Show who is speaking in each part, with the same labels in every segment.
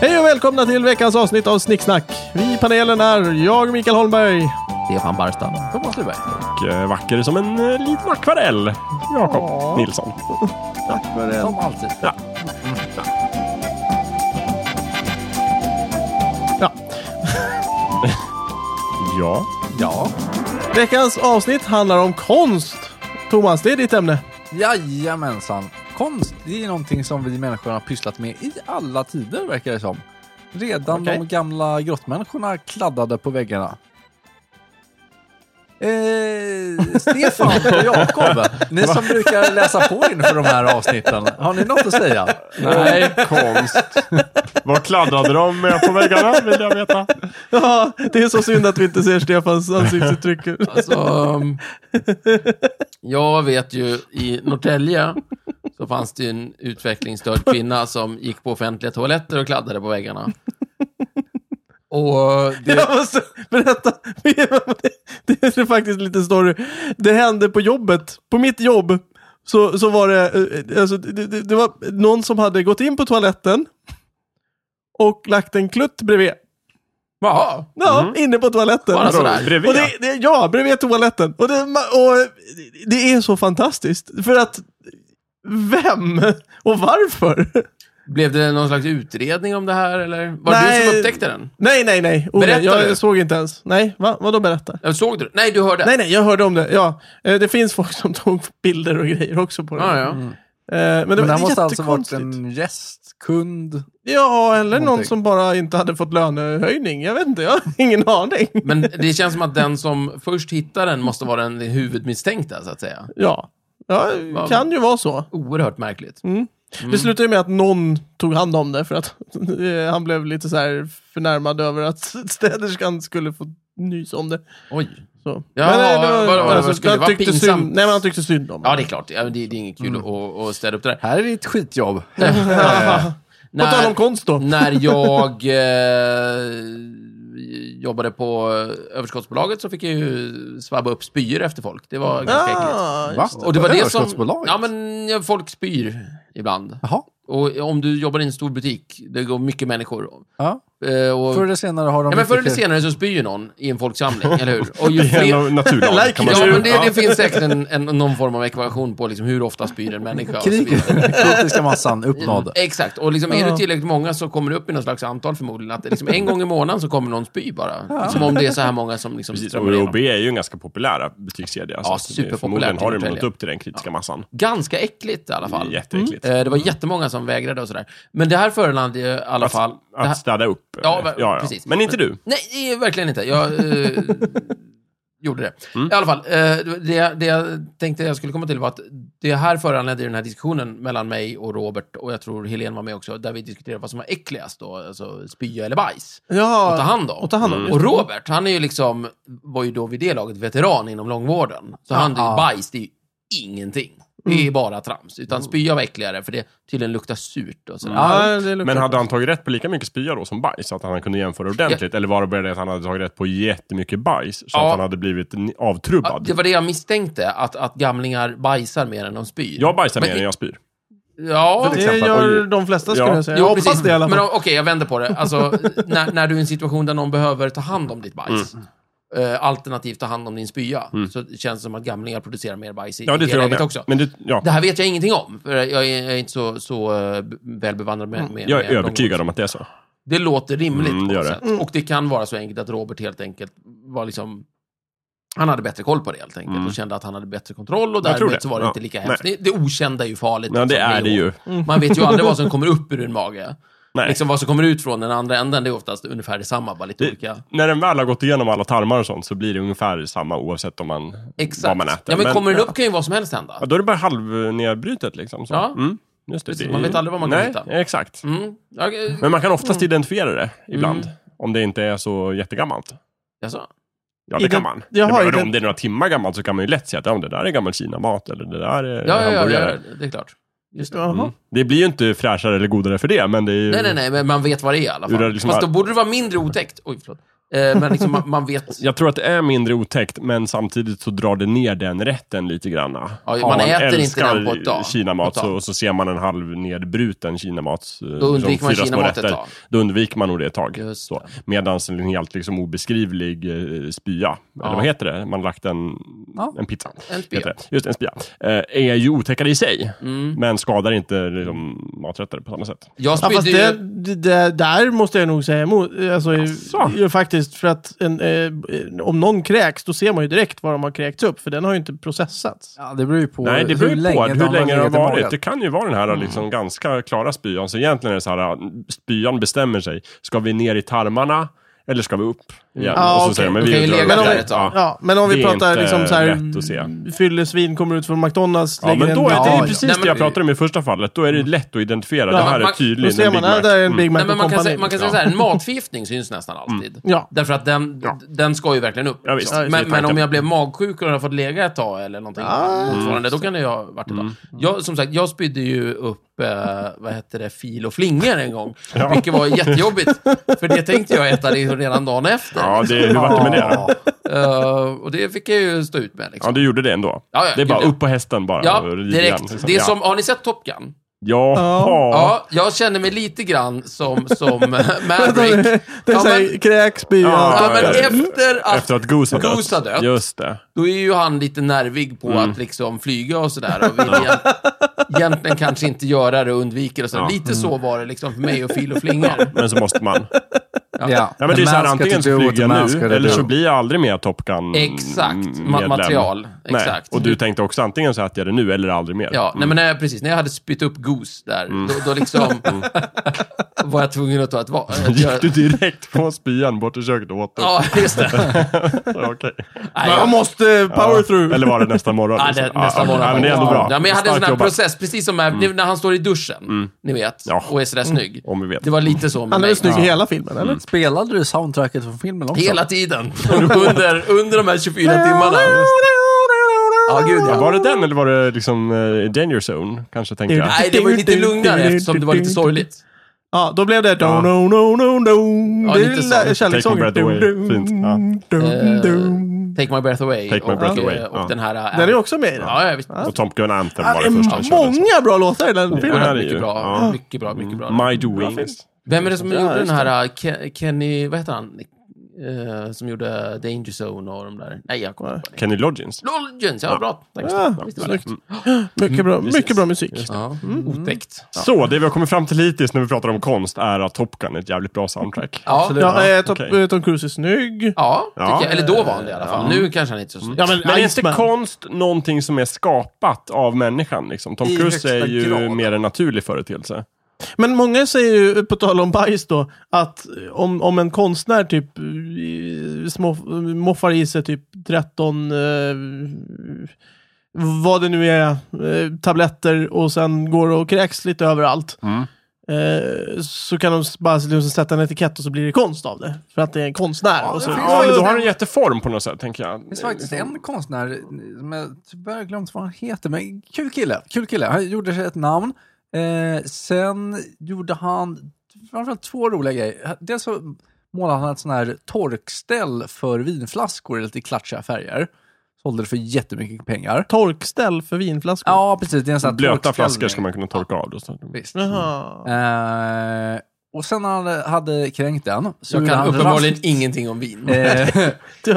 Speaker 1: Hej och välkomna till veckans avsnitt av Snicksnack. Vi i panelen är jag, Mikael Holmberg.
Speaker 2: Stefan Barstam. Thomas Luberg.
Speaker 3: Och eh, vacker som en eh, liten akvarell, Jakob Nilsson.
Speaker 2: Som alltid.
Speaker 1: Ja.
Speaker 3: Ja.
Speaker 2: Ja.
Speaker 1: Veckans avsnitt handlar om konst. Thomas, det är ditt ämne.
Speaker 2: Jajamensan. Konst, det är någonting som vi människor har pysslat med i alla tider verkar det som. Redan
Speaker 1: Okej.
Speaker 2: de gamla grottmänniskorna kladdade på väggarna. Eh, Stefan och Jakob, ni som brukar läsa på inför de här avsnitten, har ni något att säga?
Speaker 3: Nej. Konst. Vad kladdade de med på väggarna, vill jag veta.
Speaker 1: Ja, det är så synd att vi inte ser Stefans ansiktsuttryck.
Speaker 4: Alltså, um, jag vet ju i Norrtälje så fanns det ju en utvecklingsstörd kvinna som gick på offentliga toaletter och kladdade på väggarna.
Speaker 2: eh,
Speaker 4: Och det,
Speaker 1: Jag måste berätta. Det är faktiskt lite story. Det hände på jobbet. På mitt jobb så, så var det, eh, alltså, det, det, det var någon som hade gått in på toaletten och lagt en klutt bredvid.
Speaker 4: jaha,
Speaker 1: Ja, inne på toaletten.
Speaker 4: Mhm.
Speaker 1: Alltså,
Speaker 4: Bara så. Sådär.
Speaker 3: Bredvid,
Speaker 1: Och det, det, ja, bredvid toaletten. Och det, ma- och det är så fantastiskt. För att, vem och varför?
Speaker 4: blev det någon slags utredning om det här eller? Var det
Speaker 1: Nej.
Speaker 4: du som upptäckte den?
Speaker 1: Nej, nej, nej. Oh, nej
Speaker 4: Berätta
Speaker 1: jag
Speaker 4: du.
Speaker 1: såg inte ens. Nej, va? vadå berätta?
Speaker 4: Eller såg du? det? Nej, du hörde.
Speaker 1: Nej, nej, jag hörde om det. Ja, eh, det finns folk som tog bilder och grejer också på det.
Speaker 4: Ja, ja.
Speaker 1: Eh, Men det
Speaker 2: Men det
Speaker 1: var
Speaker 2: här måste alltså varit
Speaker 1: jättekonstigt.
Speaker 2: en gäst, kund.
Speaker 1: Ja, eller någon
Speaker 2: någonting.
Speaker 1: som bara inte hade fått lönehöjning. Jag vet inte, jag har ingen aning.
Speaker 4: Men det känns som att den som först hittar den måste vara den huvudmisstänkta, så att säga.
Speaker 1: Ja, ja
Speaker 4: Vad-
Speaker 1: kan ju vara så.
Speaker 4: Oerhört märkligt.
Speaker 1: Mm.
Speaker 4: Mm.
Speaker 1: Det slutade ju med att någon tog hand om det för att eh, han blev lite så här förnärmad över att städerskan skulle få nys om det.
Speaker 4: Oj.
Speaker 1: så.
Speaker 4: Ja,
Speaker 1: eh,
Speaker 4: vad- vad- vad skulle
Speaker 1: han
Speaker 4: det vara
Speaker 1: tyckte
Speaker 4: pinsamt?
Speaker 1: synd, Mm. Nej, men han tyckte synd om
Speaker 4: Ja,
Speaker 1: det.
Speaker 4: det är klart. Ja, Det, det är inget kul att, att städa upp det där.
Speaker 2: Här är ditt skitjobb.
Speaker 1: På tal om konst då.
Speaker 4: när jag eh, jobbade på överskottsbolaget så fick jag ju svabba upp spyor efter folk. Det var ganska äckligt.
Speaker 1: Ah,
Speaker 2: Va?
Speaker 4: Och det var det som...
Speaker 2: Överskottsbolaget?
Speaker 4: Ja, men ja, folk spyr ibland.
Speaker 2: Jaha.
Speaker 4: Och om du jobbar i en stor butik, det går mycket människor.
Speaker 2: Ja.
Speaker 4: Eh, och,
Speaker 2: Förr eller senare har de
Speaker 4: ja, men förr eller
Speaker 2: inte-
Speaker 4: senare så spyr ju någon i en folksamling, eller hur? Och ju
Speaker 3: Det är
Speaker 4: fler...
Speaker 3: en naturlag, kan man
Speaker 4: Ja,
Speaker 3: säga.
Speaker 4: men det, det finns säkert en, en, någon form av ekvation på liksom hur ofta spyr en människa. och så
Speaker 2: Krig.
Speaker 4: vidare.
Speaker 2: Kritiska massan uppnådd.
Speaker 4: Exakt, och liksom, är
Speaker 1: Ja.
Speaker 4: du tillräckligt många så kommer du upp i något slags antal förmodligen. Att det liksom, en gång i månaden så kommer någon spy bara. Som om det är så här många som liksom
Speaker 3: Precis,
Speaker 4: strömmar
Speaker 3: och OB
Speaker 4: igenom.
Speaker 3: är ju en ganska populär butikskedja.
Speaker 4: Ja,
Speaker 3: så det är
Speaker 4: superpopulär
Speaker 3: Förmodligen har
Speaker 4: till
Speaker 3: de nått
Speaker 4: Norrtälje.
Speaker 3: upp till den kritiska massan.
Speaker 4: Ganska äckligt i alla fall.
Speaker 3: Jätteäckligt.
Speaker 4: Eh, Det var jättemånga som vägrade och sådär. Men det här föranledde ju i alla fall... det här...
Speaker 3: Att städa upp. eh,
Speaker 4: Ja, va- precis.
Speaker 3: Men inte du.
Speaker 4: Nej, det är verkligen inte. Jag eh, gjorde det.
Speaker 3: Mm.
Speaker 4: I alla fall, eh, det, det jag tänkte jag skulle komma till var att det här föranledde den här diskussionen mellan mig och Robert, och jag tror Helene var med också, där vi diskuterade vad som var äckligast då, alltså spya eller bajs.
Speaker 1: Ja,
Speaker 4: att ta hand om.
Speaker 1: att ta hand om,
Speaker 4: Mm.
Speaker 1: just
Speaker 4: Och
Speaker 1: det.
Speaker 4: Robert, han är ju liksom, var ju då vid det laget veteran inom långvården. Så han, det är ju bajs, det är ju ingenting. Det
Speaker 1: Mm.
Speaker 4: är bara trams. Utan spya var äckligare, för det tydligen luktar surt och sådär.
Speaker 1: Ja, det luktar
Speaker 3: Men hade han tagit rätt på lika mycket spya då som bajs? Så att han kunde jämföra ordentligt? Eller var det bara det att han hade tagit rätt på jättemycket bajs? Så
Speaker 4: Ja.
Speaker 3: att han hade blivit ni-
Speaker 4: Ja,
Speaker 3: avtrubbad?
Speaker 4: det var det jag misstänkte, att, att gamlingar bajsar mer än de spyr.
Speaker 3: Jag bajsar
Speaker 4: Men-
Speaker 3: mer än jag spyr.
Speaker 4: Ja,
Speaker 1: Det
Speaker 3: exempel.
Speaker 1: gör
Speaker 3: Oj.
Speaker 1: de flesta skulle
Speaker 3: Ja.
Speaker 1: jag säga. Jag hoppas
Speaker 4: precis.
Speaker 1: det i alla
Speaker 4: Men
Speaker 1: fall.
Speaker 4: om- okej, jag vänder på det. Alltså, när, när du är i en situation där någon behöver ta hand om ditt bajs,
Speaker 3: Mm.
Speaker 4: eh, alternativt ta hand om din spya, så känns det som att gamlingar producerar mer bajs i,
Speaker 3: Ja, det
Speaker 4: i det
Speaker 3: tror jag
Speaker 4: läget
Speaker 3: med.
Speaker 4: också.
Speaker 3: Men det, ja.
Speaker 4: Det här vet jag ingenting om, för jag är, jag är inte så, så eh, b- väl bevandrad med, med
Speaker 3: Mm. Jag är
Speaker 4: med
Speaker 3: övertygad om att det är så.
Speaker 4: Det låter rimligt
Speaker 3: Mm,
Speaker 4: på
Speaker 3: det
Speaker 4: något
Speaker 3: gör det.
Speaker 4: sätt. Och det kan vara så enkelt att Robert helt enkelt var liksom... Han hade bättre koll på det helt enkelt och kände att han hade bättre kontroll och
Speaker 3: Mm. Jag tror det.
Speaker 4: därmed så var det
Speaker 3: Ja.
Speaker 4: inte lika hemskt. Det, det okända är ju farligt.
Speaker 3: Ja, det
Speaker 4: liksom,
Speaker 3: är det ju.
Speaker 4: Man vet ju aldrig vad som kommer upp ur en mage.
Speaker 3: Nej.
Speaker 4: Liksom vad som kommer ut från den andra änden, det är oftast ungefär detsamma, bara lite olika.
Speaker 3: Det, när den väl har gått igenom alla tarmar och sånt så blir det ungefär samma oavsett om man, vad
Speaker 4: Exakt.
Speaker 3: man äter.
Speaker 4: ja, men, kommer den
Speaker 3: ja.
Speaker 4: upp kan ju vad som helst hända.
Speaker 3: Ja, då är det bara halvnedbrutet liksom. Så.
Speaker 4: Ja.
Speaker 3: Mm, just det.
Speaker 4: Precis,
Speaker 3: det är
Speaker 4: man
Speaker 3: ju-
Speaker 4: vet aldrig vad man kommer
Speaker 3: Nej,
Speaker 4: hitta.
Speaker 3: exakt.
Speaker 4: Mm. Ja, eh,
Speaker 3: Men man kan oftast identifiera det ibland.
Speaker 4: Mm.
Speaker 3: Om det inte är så jättegammalt.
Speaker 4: jaså?
Speaker 3: Ja, det
Speaker 1: Ident-
Speaker 3: kan man.
Speaker 1: Jag
Speaker 3: det
Speaker 1: har
Speaker 3: beror-
Speaker 1: ident-
Speaker 3: om det är några timmar gammalt så kan man ju lätt säga att ja, men det där är gammal Kina-mat eller det där är
Speaker 4: ja, ja, ja,
Speaker 3: hamburgare.
Speaker 4: ja, det är klart. Just det.
Speaker 1: Jaha.
Speaker 3: Mm. Det blir ju inte fräschare eller godare för det, men det är ju...
Speaker 4: Nej, nej, nej, men man vet vad det är i alla
Speaker 3: Ur det
Speaker 4: fall.
Speaker 3: liksom
Speaker 4: Fast då
Speaker 3: all-
Speaker 4: borde det vara mindre otäckt. Oj, förlåt. Eh, men liksom, man, man vet...
Speaker 3: Jag tror att det är mindre otäckt, men samtidigt så drar det ner den rätten lite grann.
Speaker 4: man äter inte den på ett dag.
Speaker 3: Kinamat
Speaker 4: På ett
Speaker 3: så,
Speaker 4: dag.
Speaker 3: och så ser man en halv nedbruten kinamat. eh,
Speaker 4: Då undviker
Speaker 3: som
Speaker 4: man
Speaker 3: fyra små
Speaker 4: kinamat ett
Speaker 3: rätter.
Speaker 4: tag.
Speaker 3: Då undviker man nog det ett tag.
Speaker 4: Just
Speaker 3: Så.
Speaker 4: det.
Speaker 3: Medan en helt liksom, obeskrivlig eh, spya, eller vad heter det? Man har lagt en,
Speaker 2: Ja.
Speaker 3: en pizza.
Speaker 4: En spya. Mm.
Speaker 3: Heter det. Just en spya. Eh, är ju otäckare i sig, men skadar inte liksom, maträtter på samma sätt.
Speaker 4: Jag
Speaker 1: Ja,
Speaker 4: spydde
Speaker 1: fast
Speaker 4: ju...
Speaker 1: det, det, det, där måste jag nog säga emot. Alltså,
Speaker 3: Asså?
Speaker 1: ju, faktiskt, för att en, eh, om någon kräks, då ser man ju direkt vad de har kräkts upp, för den har ju inte processats.
Speaker 2: Ja, det beror ju på
Speaker 3: Nej, det beror ju på hur,
Speaker 2: den
Speaker 3: länge det har
Speaker 2: legat i
Speaker 3: varit.
Speaker 2: magen.
Speaker 3: Det kan ju vara den här liksom, ganska klara spyan. Så egentligen är det så här, mm, spyan bestämmer sig. Ska vi ner i tarmarna eller ska vi upp igen?
Speaker 1: Ja,
Speaker 3: och så
Speaker 1: okej.
Speaker 3: säger de, men
Speaker 4: Då
Speaker 3: vi
Speaker 4: kan ju
Speaker 3: drar
Speaker 4: ligga
Speaker 3: upp
Speaker 1: där
Speaker 3: igen.
Speaker 4: ett tag.
Speaker 1: Ja, men om vi
Speaker 3: Det är
Speaker 1: pratar
Speaker 3: inte
Speaker 1: liksom så
Speaker 3: lätt att
Speaker 1: här,
Speaker 3: se.
Speaker 1: fyllesvin kommer ut från McDonalds,
Speaker 3: Ja, men
Speaker 1: en-
Speaker 3: då är det
Speaker 2: Ja,
Speaker 3: ju
Speaker 2: ja.
Speaker 3: precis
Speaker 4: Nej, men-
Speaker 3: det jag pratade om i första fallet. Då är det lätt att identifiera. det här
Speaker 4: man-
Speaker 3: är
Speaker 1: Då
Speaker 3: tydligen
Speaker 1: ser
Speaker 3: en Mm.
Speaker 1: man,
Speaker 3: Big
Speaker 1: där
Speaker 3: Mac.
Speaker 1: där är en Big Mac
Speaker 4: Nej, Mm. men
Speaker 1: och
Speaker 4: man kan,
Speaker 1: kompani.
Speaker 4: säga, man kan säga så här, en matförgiftning syns nästan alltid.
Speaker 1: Ja.
Speaker 4: Därför att den, den ska ju verkligen upp.
Speaker 3: Mm. Ja, visst.
Speaker 4: liksom.
Speaker 3: Ja, visst, det
Speaker 4: men,
Speaker 3: är
Speaker 4: men
Speaker 3: tanken. Ah. Mm.
Speaker 4: om jag blev magsjuk och hade fått lägga ett tag eller någonting motsvarande, då kan det ju ha varit ett tag. Jag, som sagt, jag spydde ju upp, eh, vad hette det, fil och flingor en gång. Vilket var jättejobbigt. För det tänkte jag äta det redan dagen efter.
Speaker 3: Ja, det, hur vart det med det? då?
Speaker 4: Eh, och det fick jag ju stå ut med.
Speaker 3: Ja,
Speaker 4: Liksom.
Speaker 3: du gjorde det ändå.
Speaker 4: Ja, ja,
Speaker 3: det är bara
Speaker 4: gjorde jag.
Speaker 3: upp på hästen bara.
Speaker 4: Ja,
Speaker 3: och rid igen,
Speaker 4: direkt.
Speaker 3: liksom.
Speaker 4: Det är
Speaker 3: Ja.
Speaker 4: som, har ni sett Top Gun?
Speaker 3: Jaha.
Speaker 4: Ja, jag känner mig lite grann som, som eh, Maverick.
Speaker 1: Det är
Speaker 4: Ja,
Speaker 1: så här,
Speaker 4: men-
Speaker 1: kräks, spya.
Speaker 4: Ja,
Speaker 3: Ja,
Speaker 4: men
Speaker 3: ja, ja.
Speaker 4: efter att,
Speaker 3: Efter att Goose har dött.
Speaker 4: Goose har dött.
Speaker 3: Just det.
Speaker 4: då är ju han lite nervig på att liksom flyga och sådär. Och vill egent- egentligen kanske inte göra det och undviker och så.
Speaker 3: Ja.
Speaker 4: Lite så var det liksom för mig och Fil och Flingor.
Speaker 3: Men så måste man.
Speaker 2: Ja,
Speaker 3: Ja, men det är
Speaker 2: The
Speaker 3: så här,
Speaker 2: man ska typ
Speaker 3: antingen
Speaker 2: to do
Speaker 3: så
Speaker 2: what the
Speaker 3: flyger
Speaker 2: man
Speaker 3: jag
Speaker 2: ska
Speaker 3: nu,
Speaker 2: to
Speaker 3: eller
Speaker 2: do.
Speaker 3: så blir jag aldrig mer Top Gun
Speaker 4: Exakt, ma-
Speaker 3: medlem.
Speaker 4: material.
Speaker 3: Nej,
Speaker 4: Exakt. Mm.
Speaker 3: Och du tänkte också antingen så äter jag det nu eller aldrig mer. Mm.
Speaker 4: Ja, nej men när jag, precis. När jag hade spytt upp Goose där, då, då liksom var jag tvungen att ta ett val.
Speaker 3: Gick du direkt från spyan bort till köket och åt det?
Speaker 4: Ja, just det.
Speaker 3: Så, okej.
Speaker 4: Nej,
Speaker 1: Jag
Speaker 4: jag-
Speaker 1: måste eh, power through.
Speaker 3: Eller var det nästa morgon?
Speaker 4: Ja,
Speaker 3: liksom?
Speaker 4: det, nästa
Speaker 3: Ja,
Speaker 4: morgon.
Speaker 3: Ja, men det är ändå bra.
Speaker 4: Ja, men jag hade
Speaker 3: Starkt
Speaker 4: en sån här
Speaker 3: jobbat.
Speaker 4: process, precis som med, när han står i duschen, ni vet,
Speaker 3: Ja.
Speaker 4: och är sådär snygg.
Speaker 3: Om vi vet.
Speaker 4: Det var lite så med
Speaker 1: Han är
Speaker 4: mig.
Speaker 1: väl snygg i hela filmen, eller?
Speaker 3: Mm.
Speaker 2: Spelade du soundtracket från filmen också?
Speaker 4: Hela tiden. under, under de här 24 timmarna. Ja, gud ja.
Speaker 3: Var det den eller var det liksom eh, Danger Zone? Kanske tänkte jag.
Speaker 4: Nej, det var ju lite lugnare eftersom det var lite sorgligt.
Speaker 1: Ja, då blev det... Ja. No, no, no, no.
Speaker 4: Ja,
Speaker 1: det
Speaker 4: lite så.
Speaker 1: är lilla kärlekssången.
Speaker 3: Take my breath away. Fint. Ja.
Speaker 1: Dum, dum,
Speaker 4: Eh,
Speaker 1: dum.
Speaker 4: Take My Breath Away.
Speaker 3: Take My
Speaker 4: och,
Speaker 3: Breath
Speaker 4: eh,
Speaker 3: Away,
Speaker 4: Och
Speaker 3: ja.
Speaker 4: den här... eh,
Speaker 1: Den är också med i den.
Speaker 4: Ja, ja, visst.
Speaker 3: Och Top Gun Anthem var
Speaker 1: Det
Speaker 3: det första han
Speaker 1: är
Speaker 3: körde. så.
Speaker 1: många bra låtar i den
Speaker 3: Ja,
Speaker 1: filmen.
Speaker 3: det är ju-
Speaker 4: Mycket bra.
Speaker 3: ja. Mm.
Speaker 4: Mycket bra, mycket bra.
Speaker 3: My Doings.
Speaker 4: Vem är det som
Speaker 1: Ja,
Speaker 4: gjorde den
Speaker 1: just
Speaker 4: här eh, Ke- Kenny... Vad heter han? Eh, Som gjorde Danger Zone och de där. Nej, jag kommer inte ihåg.
Speaker 3: Kenny Loggins.
Speaker 4: Lolgens, ja, bra. Tack.
Speaker 1: Ja,
Speaker 4: Visst Mm. var det.
Speaker 1: snyggt. Mycket
Speaker 3: Mm,
Speaker 1: bra, mycket bra musik.
Speaker 4: Ja, otäckt.
Speaker 3: Så, det vi har kommit fram till hittills när vi pratar om konst är att Top Gun är ett jävligt bra soundtrack.
Speaker 4: Ja,
Speaker 1: Ja, eh, Tom,
Speaker 3: okej.
Speaker 1: eh, Tom Cruise är snygg.
Speaker 4: ja, tycker
Speaker 3: Ja.
Speaker 4: jag. Eller då var han det i alla fall. Nu kanske han inte är så snygg.
Speaker 1: Ja,
Speaker 3: Men är inte
Speaker 1: Iceman.
Speaker 3: konst någonting som är skapat av människan? Liksom? Tom
Speaker 2: I
Speaker 3: Cruise är
Speaker 2: högsta
Speaker 3: ju
Speaker 2: grad.
Speaker 3: mer en naturlig företeelse.
Speaker 1: Men många säger ju, på tal om bajs då, att om, om en konstnär typ eh, små- moffar i sig typ 13, eh, vad det nu är, eh, tabletter och sen går och kräks lite överallt.
Speaker 3: Mm.
Speaker 1: Eh, så kan de s- bara liksom sätta en etikett och så blir det konst av det. För att det är en konstnär. och så,
Speaker 2: det finns
Speaker 3: Ja, men då har
Speaker 2: faktiskt-
Speaker 3: den jätteform på något sätt, tänker jag.
Speaker 2: Det finns faktiskt
Speaker 3: Eh,
Speaker 2: en konstnär, eh, som jag typ tyvärr har glömt vad han heter, men kul kille. Kul kille. Han gjorde sig ett namn. Eh, sen gjorde han framförallt två roliga grejer. Dels så målade han ett sån här torkställ för vinflaskor i lite klatschiga färger. Sålde det för jättemycket pengar.
Speaker 1: Torkställ för vinflaskor.
Speaker 2: Ja, precis. Det är en sån här
Speaker 3: Blöta
Speaker 2: torkställning.
Speaker 3: flaskor ska man kunna torka av. Då. så-
Speaker 2: Visst.
Speaker 1: Jaha.
Speaker 2: Eh, och sen när han hade kränkt den så
Speaker 4: Jag
Speaker 2: gjorde
Speaker 4: kan
Speaker 2: han
Speaker 4: uppenbarligen
Speaker 2: raskt-
Speaker 4: ingenting om vin.
Speaker 2: Eh,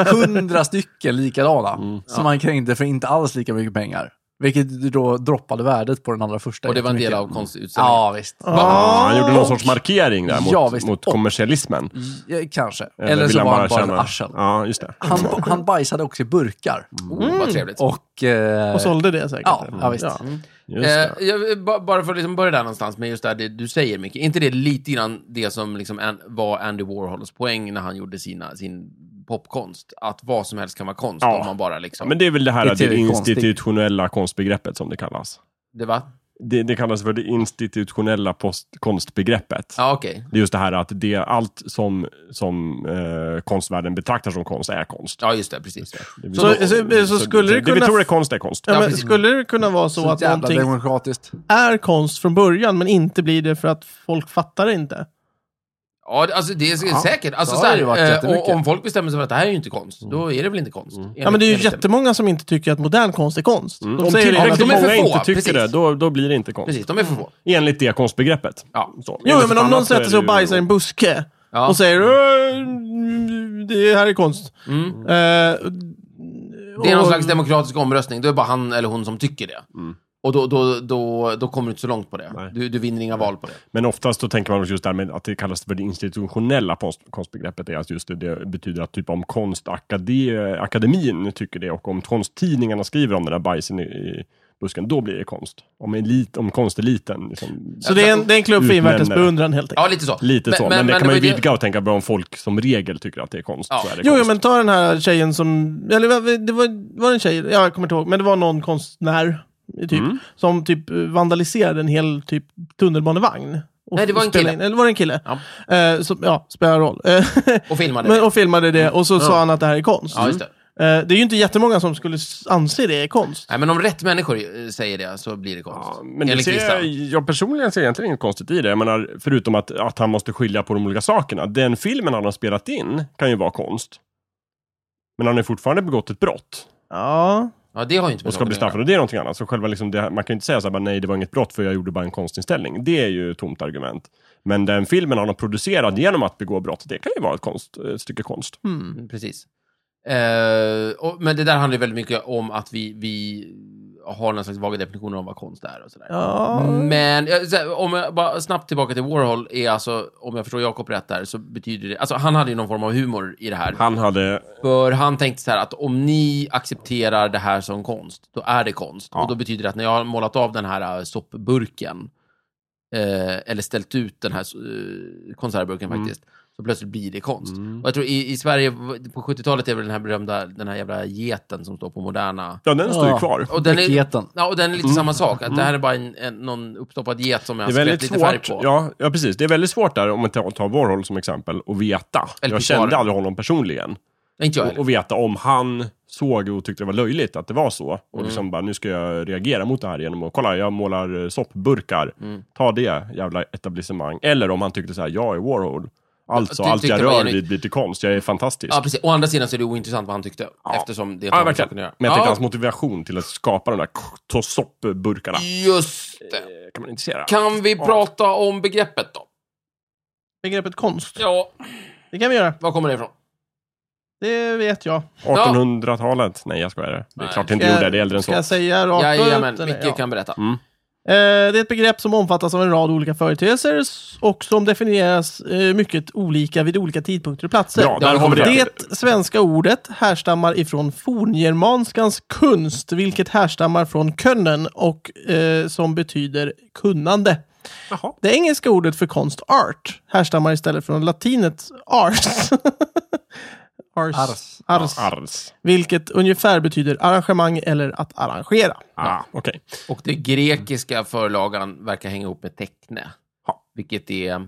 Speaker 2: hundra stycken likadana
Speaker 4: Mm.
Speaker 2: som han krängde för inte alls lika mycket pengar. Vilket då droppade värdet på den allra första.
Speaker 4: Och det var en del
Speaker 2: jättemycket.
Speaker 4: av konstutställningen.
Speaker 2: Ja, visst.
Speaker 3: Ah, han gjorde någon sorts markering där mot,
Speaker 2: Ja, visst.
Speaker 3: mot
Speaker 2: Och-
Speaker 3: kommersialismen.
Speaker 2: J- Kanske. Eller,
Speaker 3: Eller vill
Speaker 2: så
Speaker 3: han
Speaker 2: var
Speaker 3: bara
Speaker 2: han bara en
Speaker 3: känna-
Speaker 2: arsel.
Speaker 3: Ja, just det.
Speaker 2: Han, han bajsade också i burkar.
Speaker 4: Oh, vad trevligt.
Speaker 2: Och... Eh,
Speaker 1: Och sålde det säkert.
Speaker 2: Ja, ja, visst.
Speaker 3: Just det.
Speaker 4: Eh, jag, vill ba- bara för att liksom börja där någonstans med just det, här, det du säger mycket. inte det lite grann det som liksom an, var Andy Warhols poäng när han gjorde sina, sin popkonst? Att vad som helst kan vara konst
Speaker 3: Ja.
Speaker 4: om man bara liksom...
Speaker 3: Men det är väl det här
Speaker 2: Det är
Speaker 3: det, det
Speaker 2: tillräckligt konstigt.
Speaker 3: institutionella konstbegreppet som det kallas.
Speaker 4: det var...
Speaker 3: Det, det kallas för det institutionella post, konstbegreppet.
Speaker 4: Ja, okej.
Speaker 3: Det är just det här att det, allt som, som eh, konstvärlden betraktar som konst är konst.
Speaker 4: Ja, just det, precis.
Speaker 3: Det blir-
Speaker 1: Så- så- så skulle det
Speaker 3: Det
Speaker 1: kunna-
Speaker 3: vi tror är konst är konst.
Speaker 1: Ja, men
Speaker 4: precis.
Speaker 1: skulle det kunna vara så,
Speaker 2: Så
Speaker 1: att
Speaker 2: jävla
Speaker 1: någonting
Speaker 2: demokratiskt.
Speaker 1: är konst från början men inte blir det för att folk fattar det inte?
Speaker 4: Ja, det- alltså det är säkert. Alltså,
Speaker 2: så
Speaker 4: så
Speaker 2: har det ju varit
Speaker 4: här, eh,
Speaker 2: jättemycket.
Speaker 4: om, om folk bestämmer sig för att det här är ju inte konst, då är det väl inte konst?
Speaker 1: Ja, men det är ju jättemånga som inte tycker att modern konst är konst. De
Speaker 3: Mm. Om
Speaker 1: säger det hela
Speaker 3: tillräckligt
Speaker 4: de
Speaker 1: tiden.
Speaker 4: är för
Speaker 3: många
Speaker 4: få,
Speaker 3: inte tycker
Speaker 4: precis.
Speaker 3: det, då, då blir det inte konst.
Speaker 4: Precis, de är för få.
Speaker 3: Enligt det konstbegreppet.
Speaker 4: Ja.
Speaker 3: Så,
Speaker 1: Jo,
Speaker 3: enligt
Speaker 1: men om
Speaker 3: annat
Speaker 1: någon
Speaker 3: så är
Speaker 1: sätter sig
Speaker 3: det
Speaker 1: och
Speaker 3: ju-
Speaker 1: bajsar i en buske
Speaker 4: Ja.
Speaker 1: och säger "Åh, det här är konst.
Speaker 3: Mm.
Speaker 1: Eh,
Speaker 4: Det är någon
Speaker 1: och-
Speaker 4: slags demokratisk omröstning, då är det bara han eller hon som tycker det. Och då, då, då, då kommer du inte så långt på det.
Speaker 3: Mm. Nej.
Speaker 4: Du, du vinner inga val på det.
Speaker 3: Men oftast då tänker man också just det här med att det kallas för det institutionella konst, konstbegreppet. Är att just det, det betyder att typ om konstakademin tycker det och om konsttidningarna skriver om den där bajsen i, i busken, då blir det konst. Om, elit, om konsteliten. Liksom,
Speaker 1: Så det är en, det är en klubb för
Speaker 3: Utnämnare.
Speaker 1: invärtesbeundran helt enkelt.
Speaker 4: Ja, lite så.
Speaker 3: lite så, men, det kan
Speaker 4: var
Speaker 3: man ju vidga och tänka bara om folk som regel tycker att det är konst.
Speaker 4: Ja.
Speaker 3: Så är det
Speaker 1: Jo, jo,
Speaker 3: konst.
Speaker 1: men ta den här tjejen som, eller vad- det var, var det en tjej, Ja, jag kommer inte ihåg, men det var någon konstnär, typ,
Speaker 3: Mm.
Speaker 1: som typ vandaliserade en hel typ tunnelbanevagn. Och
Speaker 4: Nej, det var en
Speaker 1: spelade
Speaker 4: kille.
Speaker 1: In, eller var det en kille?
Speaker 4: Ja.
Speaker 1: Eh, som, ja, spelar roll. Eh,
Speaker 4: Och filmade
Speaker 1: men,
Speaker 4: det.
Speaker 1: och filmade det, och så sa han att det här är konst.
Speaker 4: Ja, just det.
Speaker 1: Eh, det är ju inte jättemånga som skulle s- anse det är konst.
Speaker 4: Nej, men om rätt människor eh, säger det så blir det konst.
Speaker 3: Ja, men det
Speaker 4: Enligt
Speaker 3: ser
Speaker 4: vissa.
Speaker 3: jag, jag personligen ser egentligen inget konstigt i det. Jag menar, förutom att, att han måste skilja på de olika sakerna. Den filmen han har spelat in kan ju vara konst. Men han har ju fortfarande begått ett brott
Speaker 1: Ja.
Speaker 4: Ja, det har ju inte
Speaker 3: och ska
Speaker 4: med saken
Speaker 3: bli
Speaker 4: att göra.
Speaker 3: straffad. Och det är någonting annat. Så själva liksom det, här- man kan ju inte säga så här, bara, nej det var inget brott för jag gjorde bara en konstinställning. Det är ju ett tomt argument. Men den filmen han har producerat genom att begå brott, det kan ju vara ett, konst, ett stycke konst.
Speaker 1: Hmm.
Speaker 4: Mm, Precis. Eh, och, men det där handlar ju väldigt mycket om att vi, vi har någon slags vaga definitioner om vad konst är och sådär.
Speaker 1: Ja.
Speaker 4: Men eh, så här, om jag bara snabbt tillbaka till Warhol, är alltså, om jag förstår Jakob rätt där, så betyder det, alltså han hade ju någon form av humor i det här.
Speaker 3: Han hade...
Speaker 4: För han tänkte så här att om ni accepterar det här som konst, då är det konst. Och då betyder det att när jag har målat av den här eh, soppburken, eh, eller ställt ut den här eh,
Speaker 3: Mm.
Speaker 4: konservburken faktiskt, så plötsligt blir det konst. Och jag tror i, i Sverige v- på 70-talet är väl den här berömda, den här jävla geten som står på Moderna.
Speaker 3: Ja, den står ju
Speaker 2: Ja.
Speaker 3: kvar.
Speaker 4: Och den är,
Speaker 2: Raketen.
Speaker 4: ja, och den är lite samma sak, att det här är bara en, en, någon uppstoppad get som jag
Speaker 3: Mm. Det
Speaker 4: har
Speaker 3: är väldigt
Speaker 4: sprätt lite färg
Speaker 3: svårt,
Speaker 4: på.
Speaker 3: ja, ja, precis. Det är väldigt svårt där, om man tar, tar Warhol som exempel, och veta.
Speaker 4: Eller
Speaker 3: jag
Speaker 4: Pixar.
Speaker 3: kände aldrig honom personligen.
Speaker 4: Nej, Inte jag
Speaker 3: Och,
Speaker 4: heller.
Speaker 3: och veta om han såg och tyckte det var löjligt att det var så. Och
Speaker 4: Mm.
Speaker 3: liksom bara, nu ska jag reagera mot det här genom att, kolla jag målar eh, soppburkar.
Speaker 4: Mm.
Speaker 3: Ta det jävla etablissemang. Eller om han tyckte så här, jag är Warhol. Alltså,
Speaker 4: Ja,
Speaker 3: allt
Speaker 4: ty-
Speaker 3: jag
Speaker 4: tyckte det var
Speaker 3: rör
Speaker 4: genuint.
Speaker 3: vid blir till konst. Jag är fantastisk.
Speaker 4: Ja, precis. Å andra sidan så är det ointressant vad han tyckte, eftersom det
Speaker 3: Ja,
Speaker 4: har med
Speaker 3: verkligen.
Speaker 4: saken att
Speaker 3: Men
Speaker 4: göra.
Speaker 3: jag tänkte
Speaker 4: Ja,
Speaker 3: hans motivation till att skapa de där k- to- soppburkarna.
Speaker 4: Just det.
Speaker 3: Eh, Kan man inte säga.
Speaker 4: Kan vi prata om begreppet då?
Speaker 1: Begreppet konst,
Speaker 4: Ja.
Speaker 1: det kan vi göra.
Speaker 4: Var kommer det ifrån?
Speaker 1: Det vet jag.
Speaker 3: 1800-talet? Nej, jag skojar. Det är
Speaker 4: Nej,
Speaker 3: klart det inte
Speaker 1: Ska-
Speaker 3: gjorde. Det är äldre än så.
Speaker 1: Ska jag säga rakt
Speaker 4: Jajamän,
Speaker 1: eller?
Speaker 4: Micke
Speaker 1: Ja.
Speaker 4: kan berätta.
Speaker 3: Mm.
Speaker 1: Eh, Det är ett begrepp som omfattas av en rad olika företeelser s- och som definieras eh, mycket olika vid olika tidpunkter och platser.
Speaker 3: Bra, där har vi det.
Speaker 1: Det svenska ordet härstammar ifrån forngermanskans kunst, vilket härstammar från können och eh, som betyder kunnande.
Speaker 3: Jaha.
Speaker 1: Det engelska ordet för konst, art, härstammar istället från latinets ars. ars.
Speaker 2: Ars.
Speaker 1: Ars.
Speaker 3: Ars.
Speaker 1: Vilket ungefär betyder arrangemang eller att arrangera.
Speaker 3: Ah, okej.
Speaker 4: Och det grekiska förlagan verkar hänga ihop med tekne.
Speaker 3: Ja.
Speaker 4: Vilket är...